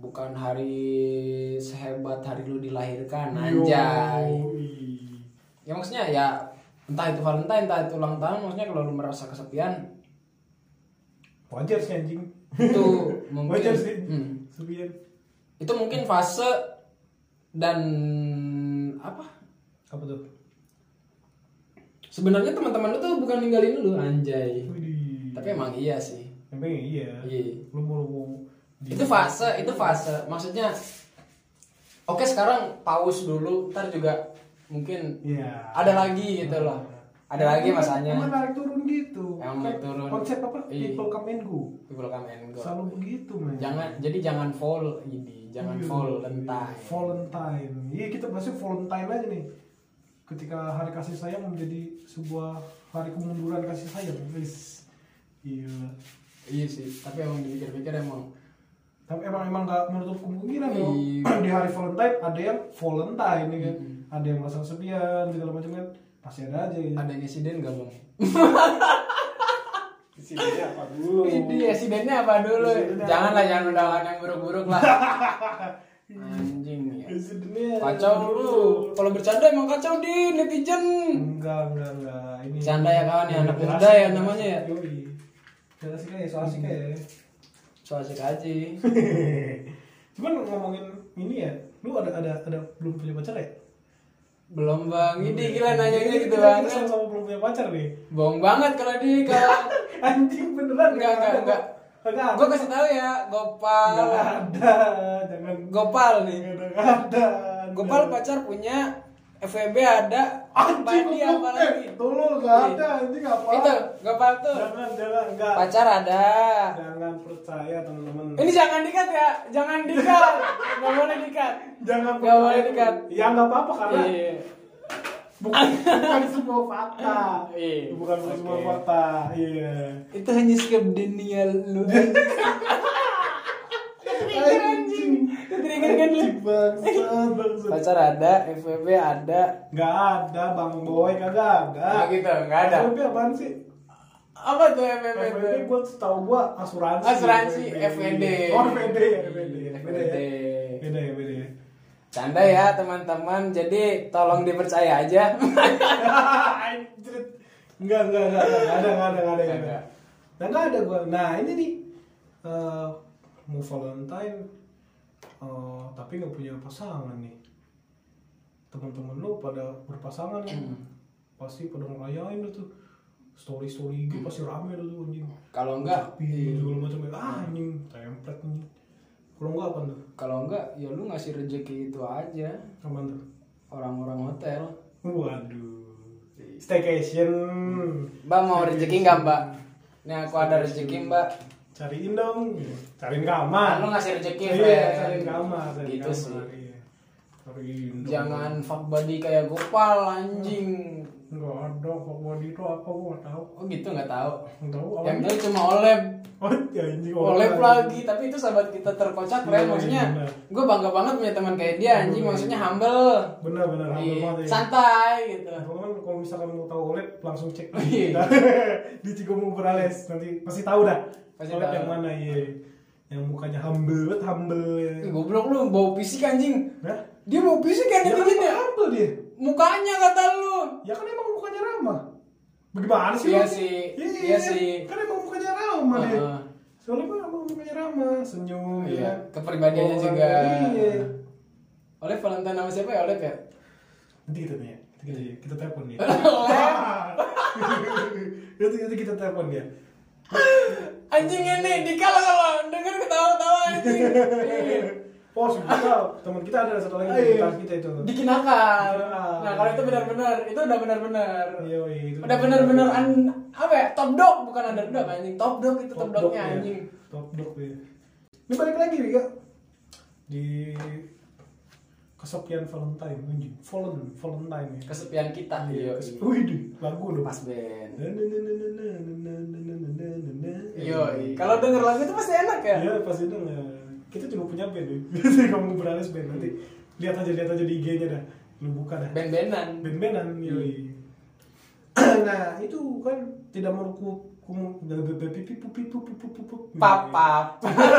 [SPEAKER 1] bukan hari sehebat hari lu dilahirkan anjay
[SPEAKER 2] Yoi.
[SPEAKER 1] ya maksudnya ya entah itu Valentine entah itu ulang tahun maksudnya kalau lu merasa kesepian
[SPEAKER 2] wajar sih anjing
[SPEAKER 1] itu mungkin
[SPEAKER 2] wajar sih
[SPEAKER 1] Hmm.
[SPEAKER 2] sepian
[SPEAKER 1] itu mungkin fase dan apa
[SPEAKER 2] apa tuh
[SPEAKER 1] sebenarnya teman-teman lu tuh bukan ninggalin lu anjay
[SPEAKER 2] Widih.
[SPEAKER 1] tapi emang iya sih
[SPEAKER 2] Emang iya
[SPEAKER 1] Iya.
[SPEAKER 2] lu mau lu mau di-
[SPEAKER 1] itu fase itu fase maksudnya oke sekarang pause dulu ntar juga mungkin
[SPEAKER 2] iya
[SPEAKER 1] ada lagi gitu loh ada lagi
[SPEAKER 2] emang
[SPEAKER 1] masanya
[SPEAKER 2] narik turun gitu
[SPEAKER 1] Emang narik turun.
[SPEAKER 2] konsep apa
[SPEAKER 1] Iya.
[SPEAKER 2] people come and go
[SPEAKER 1] people come and go
[SPEAKER 2] selalu begitu men
[SPEAKER 1] jangan jadi jangan fall ini jangan
[SPEAKER 2] Iya.
[SPEAKER 1] fall lentai
[SPEAKER 2] Valentine iya kita bahasnya Valentine aja nih ketika hari kasih sayang menjadi sebuah hari kemunduran kasih sayang guys iya
[SPEAKER 1] iya sih tapi emang dipikir-pikir emang
[SPEAKER 2] tapi emang emang nggak menutup kemungkinan loh
[SPEAKER 1] Iya.
[SPEAKER 2] di hari Valentine ada yang Valentine ya kan ada yang masang sepian segala macam kan pasti ada aja gitu.
[SPEAKER 1] Ada insiden gak bang?
[SPEAKER 2] Isinya apa dulu
[SPEAKER 1] Ini insidennya apa dulu?
[SPEAKER 2] Insidennya
[SPEAKER 1] Janganlah jangan undangan yang buruk-buruk lah. Anjing ya.
[SPEAKER 2] Isinya
[SPEAKER 1] Kacau dulu. Kalau bercanda emang kacau di netizen.
[SPEAKER 2] enggak enggak enggak ini
[SPEAKER 1] Bercanda ya, kawan, ya. Anak muda ya namanya ya. Mm.
[SPEAKER 2] yoi Jangan asik aja, so asik aja.
[SPEAKER 1] So asik aja.
[SPEAKER 2] Cuman ngomongin ini ya, lu ada ada ada belum punya pacar ya?
[SPEAKER 1] Belum bang, ini gila nanyanya gitu
[SPEAKER 2] Kita- kita
[SPEAKER 1] banget.
[SPEAKER 2] Sama-sama belum punya pacar nih.
[SPEAKER 1] Bohong banget kalau di kalau
[SPEAKER 2] Anjing beneran
[SPEAKER 1] Enggak,
[SPEAKER 2] nggak
[SPEAKER 1] enggak, enggak.
[SPEAKER 2] Enggak.
[SPEAKER 1] gue kasih tahu ya Gopal.
[SPEAKER 2] Enggak ada. Jangan
[SPEAKER 1] Gopal nih.
[SPEAKER 2] enggak ada.
[SPEAKER 1] Gopal pacar punya FWB ada.
[SPEAKER 2] Anjing
[SPEAKER 1] Pandi
[SPEAKER 2] dia
[SPEAKER 1] apa lagi?
[SPEAKER 2] Tolol enggak
[SPEAKER 1] Ih.
[SPEAKER 2] ada. Anjing apa?
[SPEAKER 1] Itu Gopal tuh.
[SPEAKER 2] Jangan jangan enggak.
[SPEAKER 1] Pacar ada.
[SPEAKER 2] Jangan percaya teman-teman.
[SPEAKER 1] Ini jangan dikat ya, jangan dikat. Gak boleh dikat.
[SPEAKER 2] jangan
[SPEAKER 1] Nggak boleh dikat.
[SPEAKER 2] Ya enggak apa-apa karena
[SPEAKER 1] Iya.
[SPEAKER 2] bukan, bukan semua fakta.
[SPEAKER 1] Iya.
[SPEAKER 2] Bukan semua
[SPEAKER 1] Oke.
[SPEAKER 2] fakta. Iya.
[SPEAKER 1] Itu hanya sikap Daniel lu. Trigger anjing. Trigger kan lu.
[SPEAKER 2] Anjing, bangsat, bangsat.
[SPEAKER 1] Pacar ada, FWB ada.
[SPEAKER 2] Nggak ada Bang Boy kagak, enggak.
[SPEAKER 1] Nggak gitu, nggak ada.
[SPEAKER 2] FWB apaan sih?
[SPEAKER 1] Apa tuh FWB?
[SPEAKER 2] FWB
[SPEAKER 1] tuh?
[SPEAKER 2] gua setahu gua asuransi.
[SPEAKER 1] Asuransi FWD.
[SPEAKER 2] Oh, FWD ya, FWD. ya, Beda ya.
[SPEAKER 1] FWD.
[SPEAKER 2] Beda ya, beda ya.
[SPEAKER 1] Canda ya teman-teman. Jadi tolong dipercaya aja.
[SPEAKER 2] Anjrit. Enggak, enggak, enggak, enggak Nggak ada, enggak ada, enggak ada.
[SPEAKER 1] Nggak
[SPEAKER 2] nggak ada.
[SPEAKER 1] ada.
[SPEAKER 2] Nah, enggak ada gua. Nah, ini nih eh mau Valentine eh, tapi nggak punya pasangan nih. Teman-teman lu pada berpasangan kan? pasti pada ngerayain lu tuh story story gitu pasti rame lu tuh anjing.
[SPEAKER 1] Kalau enggak,
[SPEAKER 2] Tapi segala macam ya. Ah, anjing template nih. Kalau enggak apa tuh?
[SPEAKER 1] kalau enggak ya lu ngasih rezeki itu aja
[SPEAKER 2] Apa tuh?
[SPEAKER 1] orang-orang hotel.
[SPEAKER 2] Waduh.
[SPEAKER 1] Iya.
[SPEAKER 2] Staycation.
[SPEAKER 1] Mbak mau rezeki enggak, Mbak? Nih aku ada rezeki, Mbak.
[SPEAKER 2] Cariin dong. Iya. Cariin
[SPEAKER 1] Kan lu
[SPEAKER 2] kamar.
[SPEAKER 1] ngasih rezeki,
[SPEAKER 2] Iya,
[SPEAKER 1] friend.
[SPEAKER 2] cariin kamar, cariin
[SPEAKER 1] Gitu
[SPEAKER 2] kamar.
[SPEAKER 1] sih.
[SPEAKER 2] Iya. Cariin dong.
[SPEAKER 1] Jangan fuck buddy kayak Gopal anjing.
[SPEAKER 2] Enggak ada kok body itu apa gua enggak tahu.
[SPEAKER 1] Oh gitu nggak tahu.
[SPEAKER 2] Enggak tahu apa.
[SPEAKER 1] Yang tahu cuma Oleb.
[SPEAKER 2] Oh, ya anjing.
[SPEAKER 1] Oleb lagi, tapi itu sahabat kita terkocak,
[SPEAKER 2] Iya,
[SPEAKER 1] Ren. Maksudnya,
[SPEAKER 2] bener.
[SPEAKER 1] gue bangga banget punya teman kayak dia, anjing. Maksudnya humble,
[SPEAKER 2] Benar benar
[SPEAKER 1] Iya,
[SPEAKER 2] banget ya.
[SPEAKER 1] santai gitu.
[SPEAKER 2] Kalau kan kalau misalkan mau tahu OLED langsung cek Nah,
[SPEAKER 1] Iya.
[SPEAKER 2] di Cikomo Berales nanti pasti tahu dah.
[SPEAKER 1] Pasti
[SPEAKER 2] OLED
[SPEAKER 1] tahu.
[SPEAKER 2] yang mana ya? Yang mukanya humble, banget, humble. ya.
[SPEAKER 1] Ih, Goblok lu bawa fisik anjing.
[SPEAKER 2] Hah?
[SPEAKER 1] Dia mau fisik kan
[SPEAKER 2] Ya kan
[SPEAKER 1] netizen ya?
[SPEAKER 2] emang humble dia.
[SPEAKER 1] Mukanya kata lu.
[SPEAKER 2] Ya kan emang mukanya ramah. Bagaimana sih?
[SPEAKER 1] Iya
[SPEAKER 2] lu?
[SPEAKER 1] sih,
[SPEAKER 2] Iya,
[SPEAKER 1] iya
[SPEAKER 2] iya
[SPEAKER 1] sih.
[SPEAKER 2] Kan emang mukanya ramah dia.
[SPEAKER 1] Heeh.
[SPEAKER 2] Soalnya kan emang mukanya ramah, senyum.
[SPEAKER 1] Iya,
[SPEAKER 2] ya.
[SPEAKER 1] kepribadiannya
[SPEAKER 2] Oh,
[SPEAKER 1] juga.
[SPEAKER 2] Iya.
[SPEAKER 1] Oleh Valentine nama siapa ya Oleh ya?
[SPEAKER 2] Nanti kita tanya, nanti kita,
[SPEAKER 1] Iya.
[SPEAKER 2] kita telepon dia.
[SPEAKER 1] Oleh.
[SPEAKER 2] nanti, nanti kita telepon dia.
[SPEAKER 1] Anjing ini dikala kalau denger ketawa-tawa anjing. Iya. Ih,
[SPEAKER 2] Oh, sudah teman kita ada satu lagi
[SPEAKER 1] Iya.
[SPEAKER 2] di tas kita itu.
[SPEAKER 1] Dikinakan.
[SPEAKER 2] Dikinakan.
[SPEAKER 1] Nah, kalau itu benar-benar, itu udah benar-benar.
[SPEAKER 2] Iya, iya, itu
[SPEAKER 1] Udah benar-benar an apa ya? Top dog bukan underdog anjing. Top dog itu top, dognya
[SPEAKER 2] ya.
[SPEAKER 1] anjing.
[SPEAKER 2] Top dog ya. Ini balik lagi Rika di kesepian Valentine anjing. Valen Valentine ya.
[SPEAKER 1] Kesepian kita. Iya.
[SPEAKER 2] Wih, lagu lu.
[SPEAKER 1] Pas band. Yo,
[SPEAKER 2] Yo,
[SPEAKER 1] kalau denger lagu itu pasti enak ya.
[SPEAKER 2] Iya pasti dong. ya. Kita juga punya band ya. Jadi kamu beralis band nanti. Lihat aja lihat aja di IG-nya dah. Lu buka dah.
[SPEAKER 1] Band-bandan.
[SPEAKER 2] Band-bandan yoi. Iya. nah, itu kan tidak menurutku kumu Iya.
[SPEAKER 1] Papap.
[SPEAKER 2] Udah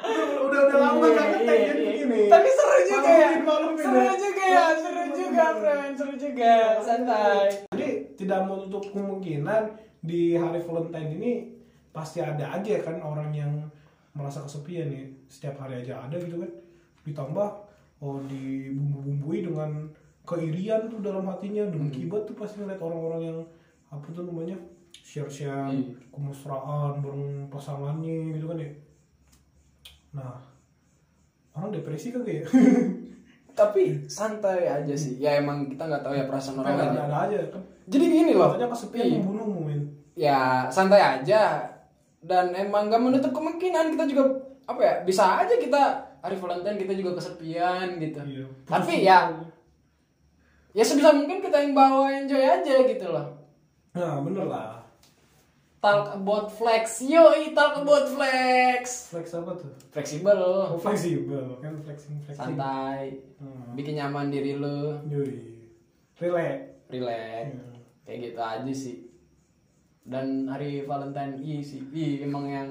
[SPEAKER 2] Nah, udah udah lama
[SPEAKER 1] Iya,
[SPEAKER 2] kan
[SPEAKER 1] iya,
[SPEAKER 2] kayaknya
[SPEAKER 1] iya.
[SPEAKER 2] begini.
[SPEAKER 1] Tapi seru juga ya.
[SPEAKER 2] Maklumin, maklumin,
[SPEAKER 1] Seru
[SPEAKER 2] ya.
[SPEAKER 1] juga ya, seru juga, friend. Seru juga, Iya, santai.
[SPEAKER 2] Jadi tidak menutup kemungkinan di hari Valentine ini pasti ada aja kan orang yang merasa kesepian nih setiap hari aja ada gitu kan ditambah oh dibumbu-bumbui dengan keirian tuh dalam hatinya
[SPEAKER 1] Hmm.
[SPEAKER 2] dengki banget tuh pasti ngeliat orang-orang yang apa tuh namanya share-share
[SPEAKER 1] Hmm.
[SPEAKER 2] kemesraan bareng pasangannya gitu kan ya nah orang depresi kagak ya
[SPEAKER 1] Tapi santai aja sih. Ya emang kita nggak tahu ya perasaan orang lain.
[SPEAKER 2] ada
[SPEAKER 1] ya.
[SPEAKER 2] ada aja kan
[SPEAKER 1] Jadi gini loh.
[SPEAKER 2] katanya kesepian
[SPEAKER 1] Iya.
[SPEAKER 2] membunuhmu men
[SPEAKER 1] ya santai aja dan emang gak menutup kemungkinan kita juga apa ya bisa aja kita hari Valentine kita juga kesepian gitu
[SPEAKER 2] Iya.
[SPEAKER 1] tapi ya ya sebisa mungkin kita yang bawa enjoy aja gitu loh
[SPEAKER 2] Nah, bener lah.
[SPEAKER 1] Talk about flex. Yoi, talk about flex.
[SPEAKER 2] Flex apa tuh?
[SPEAKER 1] Fleksibel,
[SPEAKER 2] Oh, fleksibel kan flexing flexing.
[SPEAKER 1] santai,
[SPEAKER 2] Hmm.
[SPEAKER 1] bikin nyaman diri lu,
[SPEAKER 2] Yoi. Relax.
[SPEAKER 1] relax.
[SPEAKER 2] Hmm.
[SPEAKER 1] Kayak gitu aja sih. Dan hari Valentine iya sih. Iya, emang yang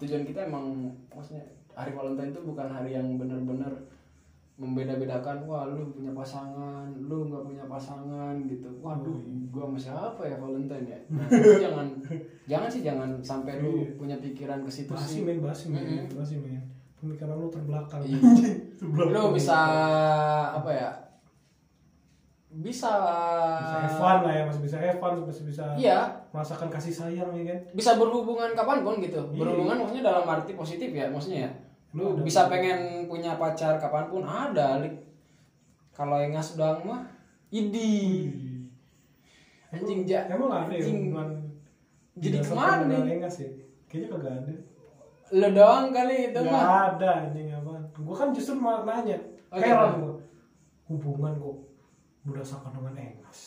[SPEAKER 1] tujuan kita emang maksudnya hari Valentine itu bukan hari yang bener-bener membeda-bedakan wah lu punya pasangan lu nggak punya pasangan gitu
[SPEAKER 2] Oh,
[SPEAKER 1] waduh
[SPEAKER 2] iya.
[SPEAKER 1] gua sama siapa ya Valentine ya Nah, lu jangan jangan sih jangan sampai lu
[SPEAKER 2] Iya.
[SPEAKER 1] punya pikiran ke situ
[SPEAKER 2] Basi
[SPEAKER 1] sih
[SPEAKER 2] men, basi men,
[SPEAKER 1] Mm-mm.
[SPEAKER 2] basi men. Pemikiran lu terbelakang.
[SPEAKER 1] Iya.
[SPEAKER 2] Terbelakang.
[SPEAKER 1] lu bisa apa ya bisa
[SPEAKER 2] bisa Evan lah ya, masih bisa Evan, masih bisa
[SPEAKER 1] iya
[SPEAKER 2] merasakan kasih sayang ya kan.
[SPEAKER 1] bisa berhubungan kapanpun gitu
[SPEAKER 2] Iya.
[SPEAKER 1] berhubungan maksudnya dalam arti positif ya maksudnya ya lu
[SPEAKER 2] Ada.
[SPEAKER 1] bisa pengen punya pacar kapanpun ada Lik. kalau yang ngasudang mah idi Iya.
[SPEAKER 2] Hmm.
[SPEAKER 1] anjing ja
[SPEAKER 2] Emang ada ya
[SPEAKER 1] anjing.
[SPEAKER 2] hubungan
[SPEAKER 1] Jadi
[SPEAKER 2] didasarkan
[SPEAKER 1] kemana
[SPEAKER 2] dengan
[SPEAKER 1] nih?
[SPEAKER 2] enggak sih? Kayaknya kagak ada.
[SPEAKER 1] lu doang kali itu
[SPEAKER 2] Gak
[SPEAKER 1] mah
[SPEAKER 2] ada anjing apaan. Gua kan justru mau nanya.
[SPEAKER 1] Oh, iya.
[SPEAKER 2] Heran gua. Hubungan kok berdasarkan dengan engas.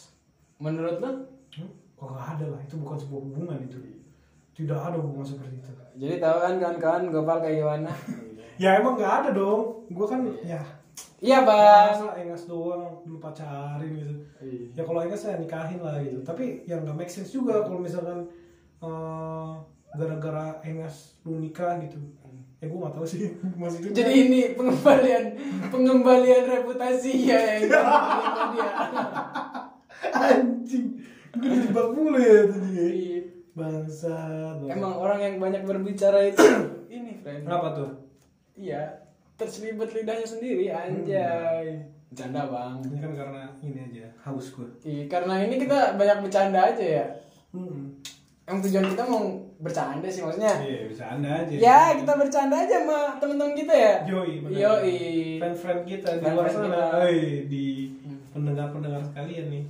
[SPEAKER 1] menurut lu
[SPEAKER 2] Hmm? Kok gak ada lah, itu bukan sebuah hubungan itu. Tidak ada hubungan seperti itu.
[SPEAKER 1] jadi tahu kan kawan-kawan gopal kayak gimana
[SPEAKER 2] Ya emang gak ada dong. Gua kan ya
[SPEAKER 1] iya Iya. bang
[SPEAKER 2] masa engas doang lu pacarin gitu. Ya kalau engas saya nikahin lah gitu. Tapi yang gak make sense juga
[SPEAKER 1] Iya.
[SPEAKER 2] kalau misalkan eh, gara-gara engas lu nikah gitu. Ya gua gak tahu sih maksudnya.
[SPEAKER 1] Hmm. jadi ini pengembalian pengembalian reputasi ya yang diterima dia
[SPEAKER 2] anjing. Gue dijebak mulu ya tadi.
[SPEAKER 1] Iya.
[SPEAKER 2] Bangsa,
[SPEAKER 1] emang orang yang banyak berbicara itu ini friend
[SPEAKER 2] Kenapa tuh?
[SPEAKER 1] Iya, terselibet lidahnya sendiri anjay. Bercanda, Bang.
[SPEAKER 2] Ini kan karena ini aja, haus gue.
[SPEAKER 1] Ih, karena ini kita banyak bercanda aja ya.
[SPEAKER 2] Hmm.
[SPEAKER 1] Emang tujuan kita mau bercanda sih maksudnya.
[SPEAKER 2] Iya, bisa anda aja.
[SPEAKER 1] Ya, kita bercanda aja sama temen-temen kita ya.
[SPEAKER 2] Yoi, benar.
[SPEAKER 1] Yoi.
[SPEAKER 2] Friend-friend kita di
[SPEAKER 1] Friend-friend
[SPEAKER 2] luar sana.
[SPEAKER 1] kita.
[SPEAKER 2] Oi, di
[SPEAKER 1] Hmm.
[SPEAKER 2] pendengar-pendengar sekalian nih.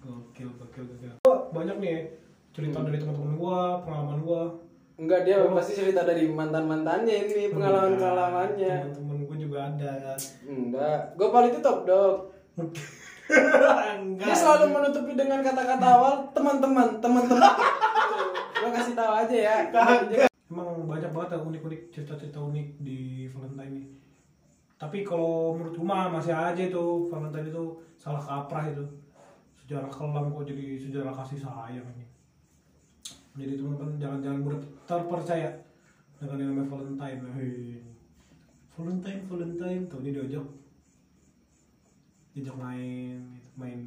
[SPEAKER 2] Gokil, gokil, gokil. Wah, banyak nih ya, cerita
[SPEAKER 1] Hmm.
[SPEAKER 2] dari teman-teman gua, pengalaman gua.
[SPEAKER 1] Enggak, dia pasti cerita dari mantan-mantannya
[SPEAKER 2] Iya.
[SPEAKER 1] ini, pengalaman-pengalamannya.
[SPEAKER 2] Teman-teman gua juga ada.
[SPEAKER 1] Enggak, gue paling itu top dog.
[SPEAKER 2] Enggak.
[SPEAKER 1] Dia selalu menutupi dengan kata-kata awal teman-teman, teman-teman. gue kasih tahu aja ya.
[SPEAKER 2] Emang banyak banget ya unik-unik cerita-cerita unik di Valentine ini. Tapi kalau menurut Uma masih aja itu Valentine itu salah kaprah itu. Sejarah kelam kok jadi sejarah kasih sayang ini. Jadi teman-teman jangan-jangan mudah terpercaya dengan yang namanya Valentine. Hei. Valentine, Valentine, tuh ini diajak diajak main, gitu. main,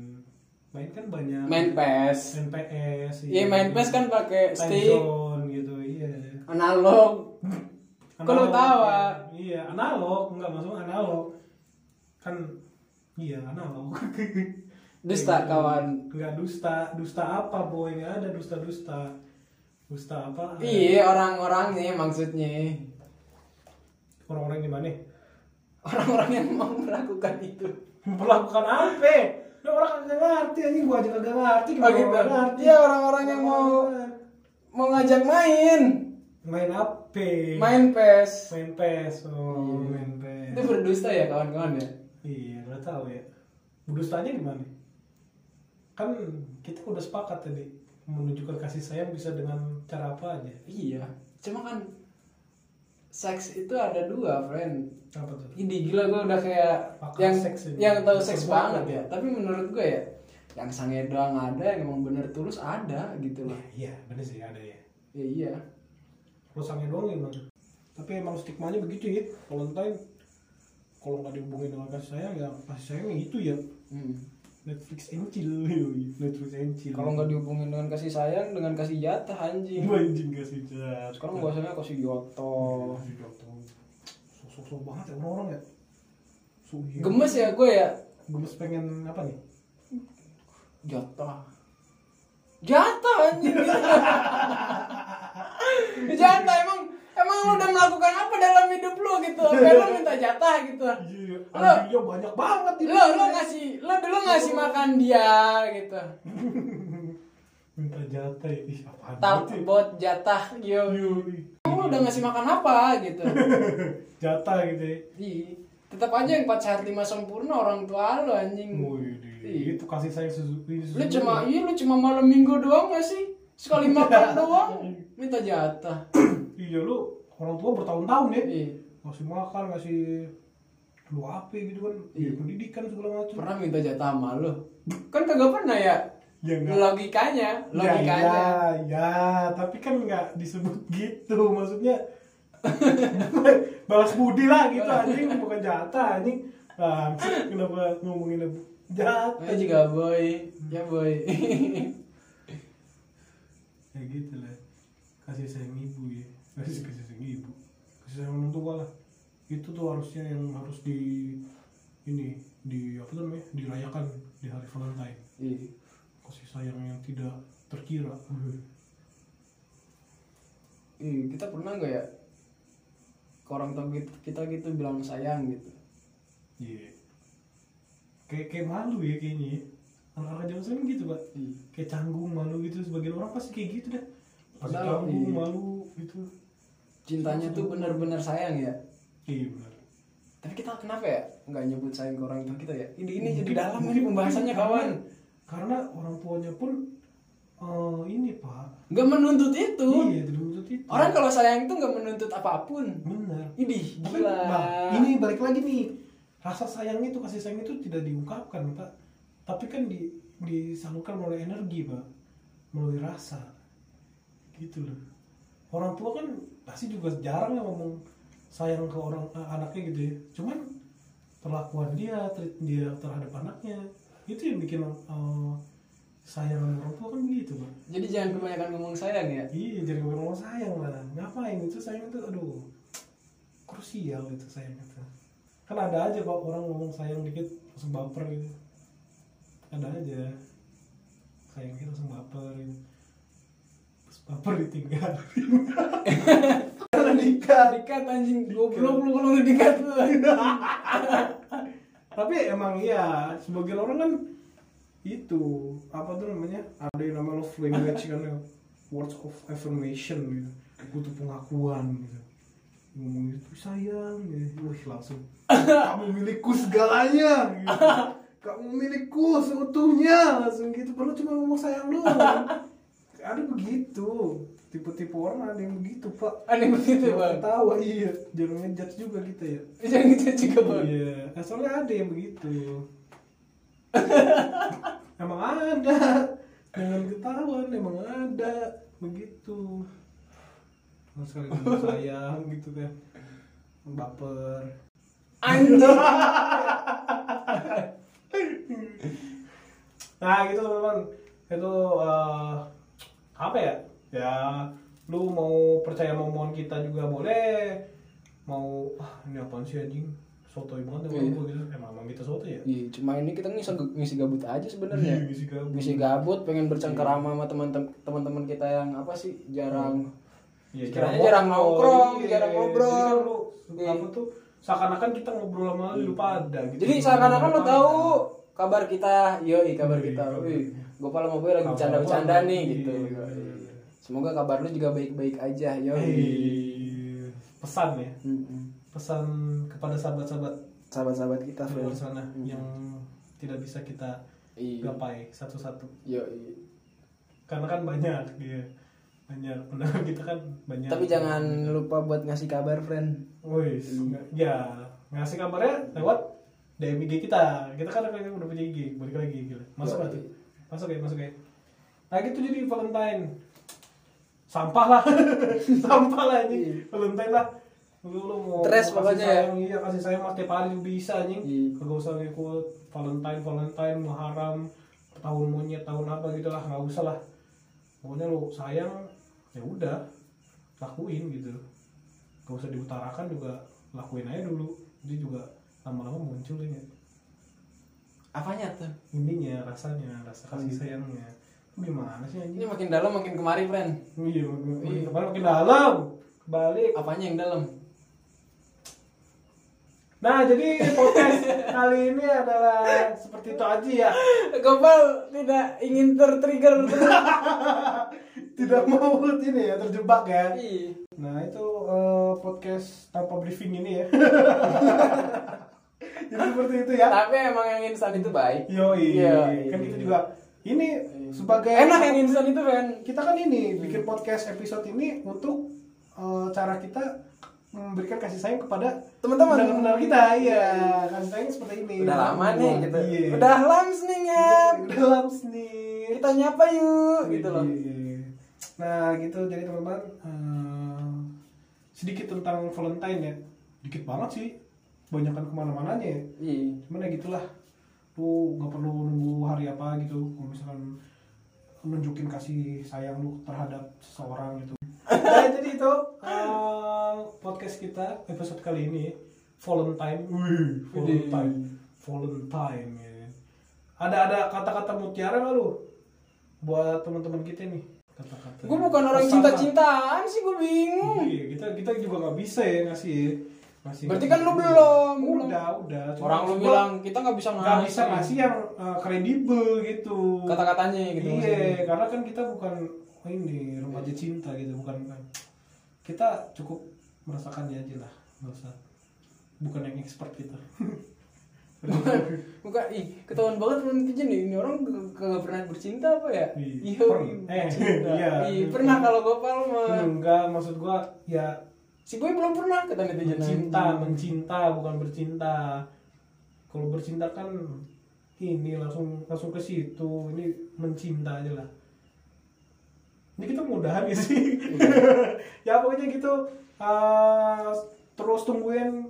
[SPEAKER 2] main kan banyak.
[SPEAKER 1] Main PES.
[SPEAKER 2] Main PS.
[SPEAKER 1] Iya, main PES kan pakai
[SPEAKER 2] Time
[SPEAKER 1] stick
[SPEAKER 2] zone, gitu, iya.
[SPEAKER 1] analog. Kok lu
[SPEAKER 2] Analog,
[SPEAKER 1] tawa?
[SPEAKER 2] ya. Iya, analog, enggak masuk analog. Kan iya analog.
[SPEAKER 1] Dusta kawan.
[SPEAKER 2] Enggak dusta, dusta apa boy? Enggak ada dusta-dusta. Dusta apa?
[SPEAKER 1] Iya orang-orangnya maksudnya
[SPEAKER 2] Orang-orang gimana?
[SPEAKER 1] orang-orang yang mau melakukan itu.
[SPEAKER 2] Memperlakukan apa? Lu orang kagak ngerti, ini gua aja kagak ngerti.
[SPEAKER 1] Oh
[SPEAKER 2] gimana
[SPEAKER 1] gitu.
[SPEAKER 2] orang ngerti?
[SPEAKER 1] Iya orang-orang yang mau mau ngajak main,
[SPEAKER 2] main apa?
[SPEAKER 1] main Iya. PES.
[SPEAKER 2] main PES, oh, main PES.
[SPEAKER 1] Itu berdusta ya kawan-kawan ya.
[SPEAKER 2] Iya, udah tahu ya. Dustanya gimana? Kan kita udah sepakat tadi menunjukkan kasih sayang bisa dengan cara apa aja.
[SPEAKER 1] Iya. Cuma kan seks itu ada dua, friend.
[SPEAKER 2] Apa tuh?
[SPEAKER 1] Ini gila gue udah kayak
[SPEAKER 2] Pakar
[SPEAKER 1] yang
[SPEAKER 2] seks ini.
[SPEAKER 1] yang tahu seks
[SPEAKER 2] Sebuah
[SPEAKER 1] banget
[SPEAKER 2] apa?
[SPEAKER 1] ya. Tapi menurut gue ya yang sange doang ada, yang emang bener tulus ada gitu loh.
[SPEAKER 2] Iya, bener sih ada ya.
[SPEAKER 1] Ya iya.
[SPEAKER 2] Rusaknya doang gimana? Tapi emang stigmanya begitu ya. Valentine kalau nggak dihubungin dengan kasih sayang ya kasih sayangnya itu ya.
[SPEAKER 1] Hmm.
[SPEAKER 2] Netflix and chill, yoi. Netflix and chill. Iya,
[SPEAKER 1] Kalau nggak dihubungin dengan kasih sayang, dengan kasih jatah anjing.
[SPEAKER 2] anjing kasih jahat.
[SPEAKER 1] Sekarang bahasanya kasih yoto.
[SPEAKER 2] Sok-sok Oh. banget ya orang-orang ya. So, iya.
[SPEAKER 1] Gemes ya gue ya.
[SPEAKER 2] Gemes pengen apa nih?
[SPEAKER 1] Jatah. Jatah anjing. jatah emang emang lu udah melakukan apa dalam hidup lu gitu? Sampai lu minta jatah gitu.
[SPEAKER 2] Iya,
[SPEAKER 1] Lo-
[SPEAKER 2] anjingnya banyak banget di
[SPEAKER 1] Lu lu ngasih lu dulu ngasih makan dia gitu.
[SPEAKER 2] Minta jatah ya, ih apaan
[SPEAKER 1] Tap
[SPEAKER 2] gitu ya.
[SPEAKER 1] buat jatah yo.
[SPEAKER 2] Yoi.
[SPEAKER 1] Emang lu udah ngasih makan apa gitu?
[SPEAKER 2] Jatah gitu ya
[SPEAKER 1] Iya. Tetap aja yang 4 sehat 5 sempurna orang tua lu anjing.
[SPEAKER 2] Wih, di-
[SPEAKER 1] Iya.
[SPEAKER 2] itu kasih sayang Suzuki
[SPEAKER 1] Lu cuma iya lu cuma malam minggu doang gak sih? sekali makan doang minta jatah
[SPEAKER 2] iya lu orang tua bertahun-tahun ya
[SPEAKER 1] Iya.
[SPEAKER 2] ngasih makan ngasih lu apa gitu kan
[SPEAKER 1] Iya.
[SPEAKER 2] pendidikan segala macam
[SPEAKER 1] pernah minta jatah sama lu kan kagak pernah ya
[SPEAKER 2] ya enggak
[SPEAKER 1] logikanya
[SPEAKER 2] ya, ya,
[SPEAKER 1] logikanya
[SPEAKER 2] ya, tapi kan nggak disebut gitu maksudnya balas budi lah gitu anjing bukan jatah anjing Nah, kenapa ngomongin abu-
[SPEAKER 1] Saya
[SPEAKER 2] jatah
[SPEAKER 1] juga boy ya boy
[SPEAKER 2] ya gitu lah kasih sayang ibu ya kasih kasih sayang ibu kasih sayang orang tua lah itu tuh harusnya yang harus di ini di apa tuh namanya dirayakan di hari Valentine
[SPEAKER 1] Iya.
[SPEAKER 2] kasih sayang yang tidak terkira
[SPEAKER 1] Iya, kita pernah nggak ya ke orang tua gitu- kita gitu bilang sayang gitu
[SPEAKER 2] iya kayak kayak malu ya kayaknya ya. anak-anak zaman sekarang gitu pak
[SPEAKER 1] Iya.
[SPEAKER 2] kayak canggung malu gitu sebagian orang pasti kayak gitu dah pasti
[SPEAKER 1] Padahal,
[SPEAKER 2] canggung
[SPEAKER 1] iya.
[SPEAKER 2] malu gitu
[SPEAKER 1] cintanya tuh benar-benar sayang ya
[SPEAKER 2] iya benar
[SPEAKER 1] tapi kita kenapa ya nggak nyebut sayang ke orang tua kita ya ini ini jadi dalam ini pembahasannya kawan
[SPEAKER 2] karena orang tuanya pun eh, ini pak
[SPEAKER 1] nggak menuntut itu
[SPEAKER 2] Iya, tidak menuntut itu.
[SPEAKER 1] orang kalau sayang itu nggak menuntut apapun
[SPEAKER 2] benar.
[SPEAKER 1] Idih,
[SPEAKER 2] Tapi,
[SPEAKER 1] gila.
[SPEAKER 2] Pak, ini balik lagi nih. Rasa sayang itu kasih sayang itu tidak diungkapkan, Pak. Tapi kan di disalurkan melalui energi, Pak. Melalui rasa. Gitu loh. Orang tua kan pasti juga jarang yang ngomong sayang ke orang eh, anaknya gitu ya. Cuman perlakuan dia, treat dia terhadap anaknya itu yang bikin eh, sayang orang tua kan gitu, Pak.
[SPEAKER 1] jadi jangan kebanyakan ngomong sayang ya
[SPEAKER 2] Iya, jadi gue ngomong sayang lah. Ngapain itu sayang itu aduh. Krusial itu sayang itu. Kan ada aja kok orang ngomong sayang dikit langsung baper gitu. Ada aja. Sayang dikit langsung baper gitu. Terus baper ditinggal. Karena nikah.
[SPEAKER 1] dikat anjing goblok lu kalau nggak dikat lu
[SPEAKER 2] Tapi emang iya, sebagian orang kan itu apa tuh namanya ada yang namanya love language kan ya. words of affirmation gitu butuh pengakuan gitu ngomong itu sayang gitu. wih langsung kamu milikku segalanya gitu. kamu milikku seutuhnya langsung gitu perlu cuma ngomong sayang doang ada begitu tipe-tipe orang ada yang begitu pak
[SPEAKER 1] aneh begitu Gitu, bang
[SPEAKER 2] tahu iya jarang ngejudge juga kita ya
[SPEAKER 1] jangan gitu juga bang
[SPEAKER 2] Iya, eh, soalnya ada yang begitu. emang ada. Jangan ketahuan, emang ada begitu. Nah, sekali ngomong sayang gitu kan. Baper.
[SPEAKER 1] anjing
[SPEAKER 2] Nah, gitu teman-teman. Itu eh, apa ya? Ya, lu mau percaya omongan kita juga boleh. Mau ah, ini apaan sih anjing? Sotoy banget
[SPEAKER 1] Iya.
[SPEAKER 2] emang gua gitu. Emang emang kita sotoy ya?
[SPEAKER 1] Iya, cuma ini kita ngisi, ngisi gabut aja sebenarnya.
[SPEAKER 2] Iya, ngisi gabut.
[SPEAKER 1] Ngisi gabut, Iya. pengen bercengkerama sama teman-tem- teman-teman kita yang apa sih jarang
[SPEAKER 2] Ya,
[SPEAKER 1] Sekiranya jarang nongkrong, jarang ngobrol.
[SPEAKER 2] Jadi kan lu,
[SPEAKER 1] Iya.
[SPEAKER 2] apa tuh, seakan-akan kita ngobrol sama lu pada gitu.
[SPEAKER 1] Jadi seakan-akan lo
[SPEAKER 2] Pada.
[SPEAKER 1] tahu kabar kita, yoi kabar
[SPEAKER 2] Yoi,
[SPEAKER 1] kita.
[SPEAKER 2] kabar.
[SPEAKER 1] Wih, Gopal sama gue lagi
[SPEAKER 2] Kabar
[SPEAKER 1] bercanda-bercanda
[SPEAKER 2] apa?
[SPEAKER 1] nih gitu.
[SPEAKER 2] Iya.
[SPEAKER 1] Semoga kabar lu juga baik-baik aja, yoi.
[SPEAKER 2] Hei, Iya. pesan ya,
[SPEAKER 1] Mm-mm.
[SPEAKER 2] pesan kepada sahabat-sahabat
[SPEAKER 1] Sahabat-sahabat kita,
[SPEAKER 2] di
[SPEAKER 1] Fil.
[SPEAKER 2] luar sana yang tidak bisa kita
[SPEAKER 1] Hmm. Iya.
[SPEAKER 2] gapai satu-satu.
[SPEAKER 1] Yoi.
[SPEAKER 2] Karena kan banyak dia, banyak pendengar kita kan banyak.
[SPEAKER 1] Tapi jangan lupa buat ngasih kabar, friend.
[SPEAKER 2] Wih, nggak- ya ngasih kabarnya lewat DM IG kita. Kita kan akhirnya udah punya IG, balik lagi gila. Masuk
[SPEAKER 1] Yoi.
[SPEAKER 2] berarti. Masuk ya, masuk ya. Nah gitu jadi Valentine. Sampah lah. Sampah lah ini. Valentine lah. Lu, lu mau
[SPEAKER 1] Iya. Stres
[SPEAKER 2] mau kasih
[SPEAKER 1] pokoknya ya.
[SPEAKER 2] sayang, Iya, kasih sayang mah tiap hari bisa anjing.
[SPEAKER 1] Iya.
[SPEAKER 2] Kagak usah ngikut Valentine, Valentine, Muharram, tahun monyet, tahun apa gitu lah, nggak usah lah. Pokoknya lu sayang ya udah lakuin gitu gak usah diutarakan juga lakuin aja dulu dia juga lama-lama muncul ini
[SPEAKER 1] Apanya tuh?
[SPEAKER 2] ininya rasanya rasa kasih sayangnya Lu gimana sih
[SPEAKER 1] Ini
[SPEAKER 2] anjing
[SPEAKER 1] makin dalam makin kemari, friend.
[SPEAKER 2] iya makin- makin kemarin makin dalam balik
[SPEAKER 1] Apanya yang dalam?
[SPEAKER 2] nah jadi podcast kali ini adalah seperti itu aja ya
[SPEAKER 1] Gopal tidak ingin tertrigger.
[SPEAKER 2] tidak mau ini ya terjebak ya
[SPEAKER 1] Ih,
[SPEAKER 2] Nah itu eh, podcast tanpa briefing ini ya. Jadi seperti itu ya.
[SPEAKER 1] Tapi emang yang instan itu baik.
[SPEAKER 2] Yoi.
[SPEAKER 1] Iya.
[SPEAKER 2] Kan kita juga ini sebagai
[SPEAKER 1] enak yang instan itu kan
[SPEAKER 2] kita kan ini bikin podcast episode ini untuk eh, cara kita memberikan kasih sayang kepada
[SPEAKER 1] Teman-teman.
[SPEAKER 2] pendengar kita iya kasih sayang seperti ini
[SPEAKER 1] udah lama nih gitu
[SPEAKER 2] Iya.
[SPEAKER 1] udah lams nih ya
[SPEAKER 2] udah lams nih
[SPEAKER 1] kita nyapa yuk gitu loh
[SPEAKER 2] Iya. nah gitu jadi teman-teman eh, sedikit tentang Valentine ya dikit banget sih banyakkan kemana-mananya ya
[SPEAKER 1] iya
[SPEAKER 2] cuman ya gitulah lu nggak perlu nunggu hari apa gitu kalau misalkan nunjukin kasih sayang lu terhadap seseorang gitu nah jadi itu eh, podcast kita episode kali ini Valentine wih Valentine Valentine ya. ada ada kata-kata mutiara nggak lu buat teman-teman kita nih kata-kata
[SPEAKER 1] gue bukan orang
[SPEAKER 2] Pesan lah.
[SPEAKER 1] cinta-cintaan sih gue bingung
[SPEAKER 2] Iya, kita kita juga nggak bisa ya ngasih ngasih.
[SPEAKER 1] Berarti kan lu belum, belum.
[SPEAKER 2] Udah, udah. Cuma
[SPEAKER 1] Iya. orang lu
[SPEAKER 2] gua
[SPEAKER 1] bilang kita nggak bisa
[SPEAKER 2] nggak
[SPEAKER 1] ngasih
[SPEAKER 2] bisa ngasih yang uh, kredibel gitu.
[SPEAKER 1] kata-katanya gitu
[SPEAKER 2] Iya, karena kan kita bukan ini remaja cinta gitu, bukan bukan. Kita cukup merasakannya aja lah, nggak usah. Bukan yang expert kita.
[SPEAKER 1] bukan ih ketahuan banget temen kitchen nih ini orang ke- kagak pernah bercinta apa ya
[SPEAKER 2] Iya,
[SPEAKER 1] iya
[SPEAKER 2] pernah. Eh,
[SPEAKER 1] bercinta.
[SPEAKER 2] iya.
[SPEAKER 1] Ih, pernah kalau gopal mah
[SPEAKER 2] Enggak, maksud gua ya
[SPEAKER 1] si gue belum pernah kata netizen
[SPEAKER 2] mencinta mencinta bukan bercinta kalau bercinta kan ini langsung langsung ke situ ini mencinta aja lah ini kita mudahan ya sih ya pokoknya gitu eh, terus tungguin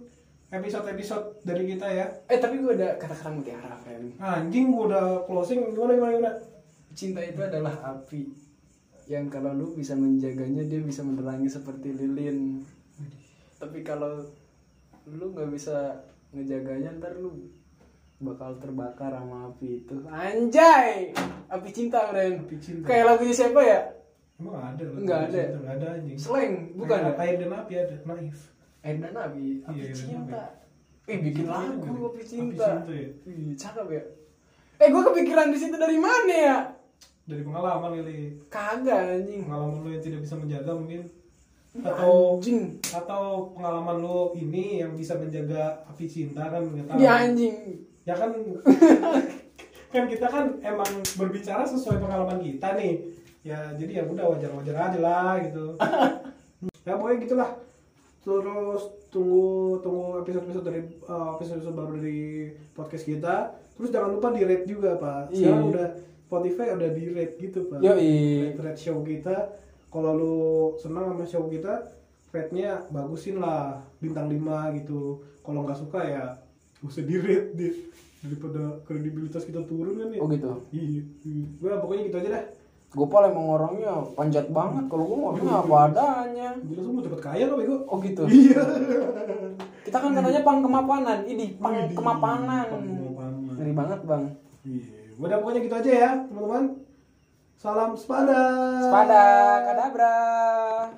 [SPEAKER 2] episode episode dari kita ya
[SPEAKER 1] eh tapi gue ada kata-kata mutiara friend
[SPEAKER 2] anjing gua udah closing gimana gimana gimana
[SPEAKER 1] cinta itu adalah api yang kalau lu bisa menjaganya dia bisa menerangi seperti lilin tapi kalau lu nggak bisa ngejaganya ntar lu bakal terbakar sama api itu anjay api cinta keren
[SPEAKER 2] Api cinta.
[SPEAKER 1] kayak lagunya siapa ya
[SPEAKER 2] emang ada loh
[SPEAKER 1] Nggak ada.
[SPEAKER 2] nggak ada anjing
[SPEAKER 1] slang bukan
[SPEAKER 2] air,
[SPEAKER 1] ya?
[SPEAKER 2] air dan api ada naif
[SPEAKER 1] air dan api api
[SPEAKER 2] Iya, air dan
[SPEAKER 1] cinta
[SPEAKER 2] api.
[SPEAKER 1] Ih, bikin
[SPEAKER 2] Api cinta
[SPEAKER 1] lagu api
[SPEAKER 2] ya. Api
[SPEAKER 1] cinta
[SPEAKER 2] cinta ya.
[SPEAKER 1] Ih, cakep ya eh gue kepikiran di situ dari mana ya
[SPEAKER 2] dari pengalaman kali
[SPEAKER 1] kagak anjing
[SPEAKER 2] pengalaman lu yang tidak bisa menjaga mungkin atau
[SPEAKER 1] anjing
[SPEAKER 2] atau pengalaman lo ini yang bisa menjaga api cinta kan nggak tahu.
[SPEAKER 1] Ini anjing
[SPEAKER 2] ya kan kan kita kan emang berbicara sesuai pengalaman kita nih ya jadi ya udah wajar-wajar aja lah gitu ya pokoknya gitulah terus tunggu tunggu episode episode dari episode episode baru dari podcast kita terus jangan lupa di rate juga pak sekarang
[SPEAKER 1] Iya.
[SPEAKER 2] udah Spotify udah di rate gitu pak
[SPEAKER 1] Yoi.
[SPEAKER 2] rate show kita kalau lu senang sama show kita rate-nya bagusin lah bintang 5 gitu kalau nggak suka ya nggak usah di rate deh daripada kredibilitas kita turun kan ya
[SPEAKER 1] Oh gitu.
[SPEAKER 2] iya iya. Udah, pokoknya gitu aja dah
[SPEAKER 1] Gopal emang orangnya panjat banget. Kalau gue orangnya apa adanya.
[SPEAKER 2] gue langsung mau cepet kaya lo bego
[SPEAKER 1] Oh gitu.
[SPEAKER 2] iya
[SPEAKER 1] Kita kan katanya pang kemapanan. Ini pang
[SPEAKER 2] Widih,
[SPEAKER 1] kemapanan.
[SPEAKER 2] pang kemapanan.
[SPEAKER 1] Ngeri banget bang.
[SPEAKER 2] iya udah pokoknya gitu aja ya teman-teman salam sepada
[SPEAKER 1] Sepada kadabra.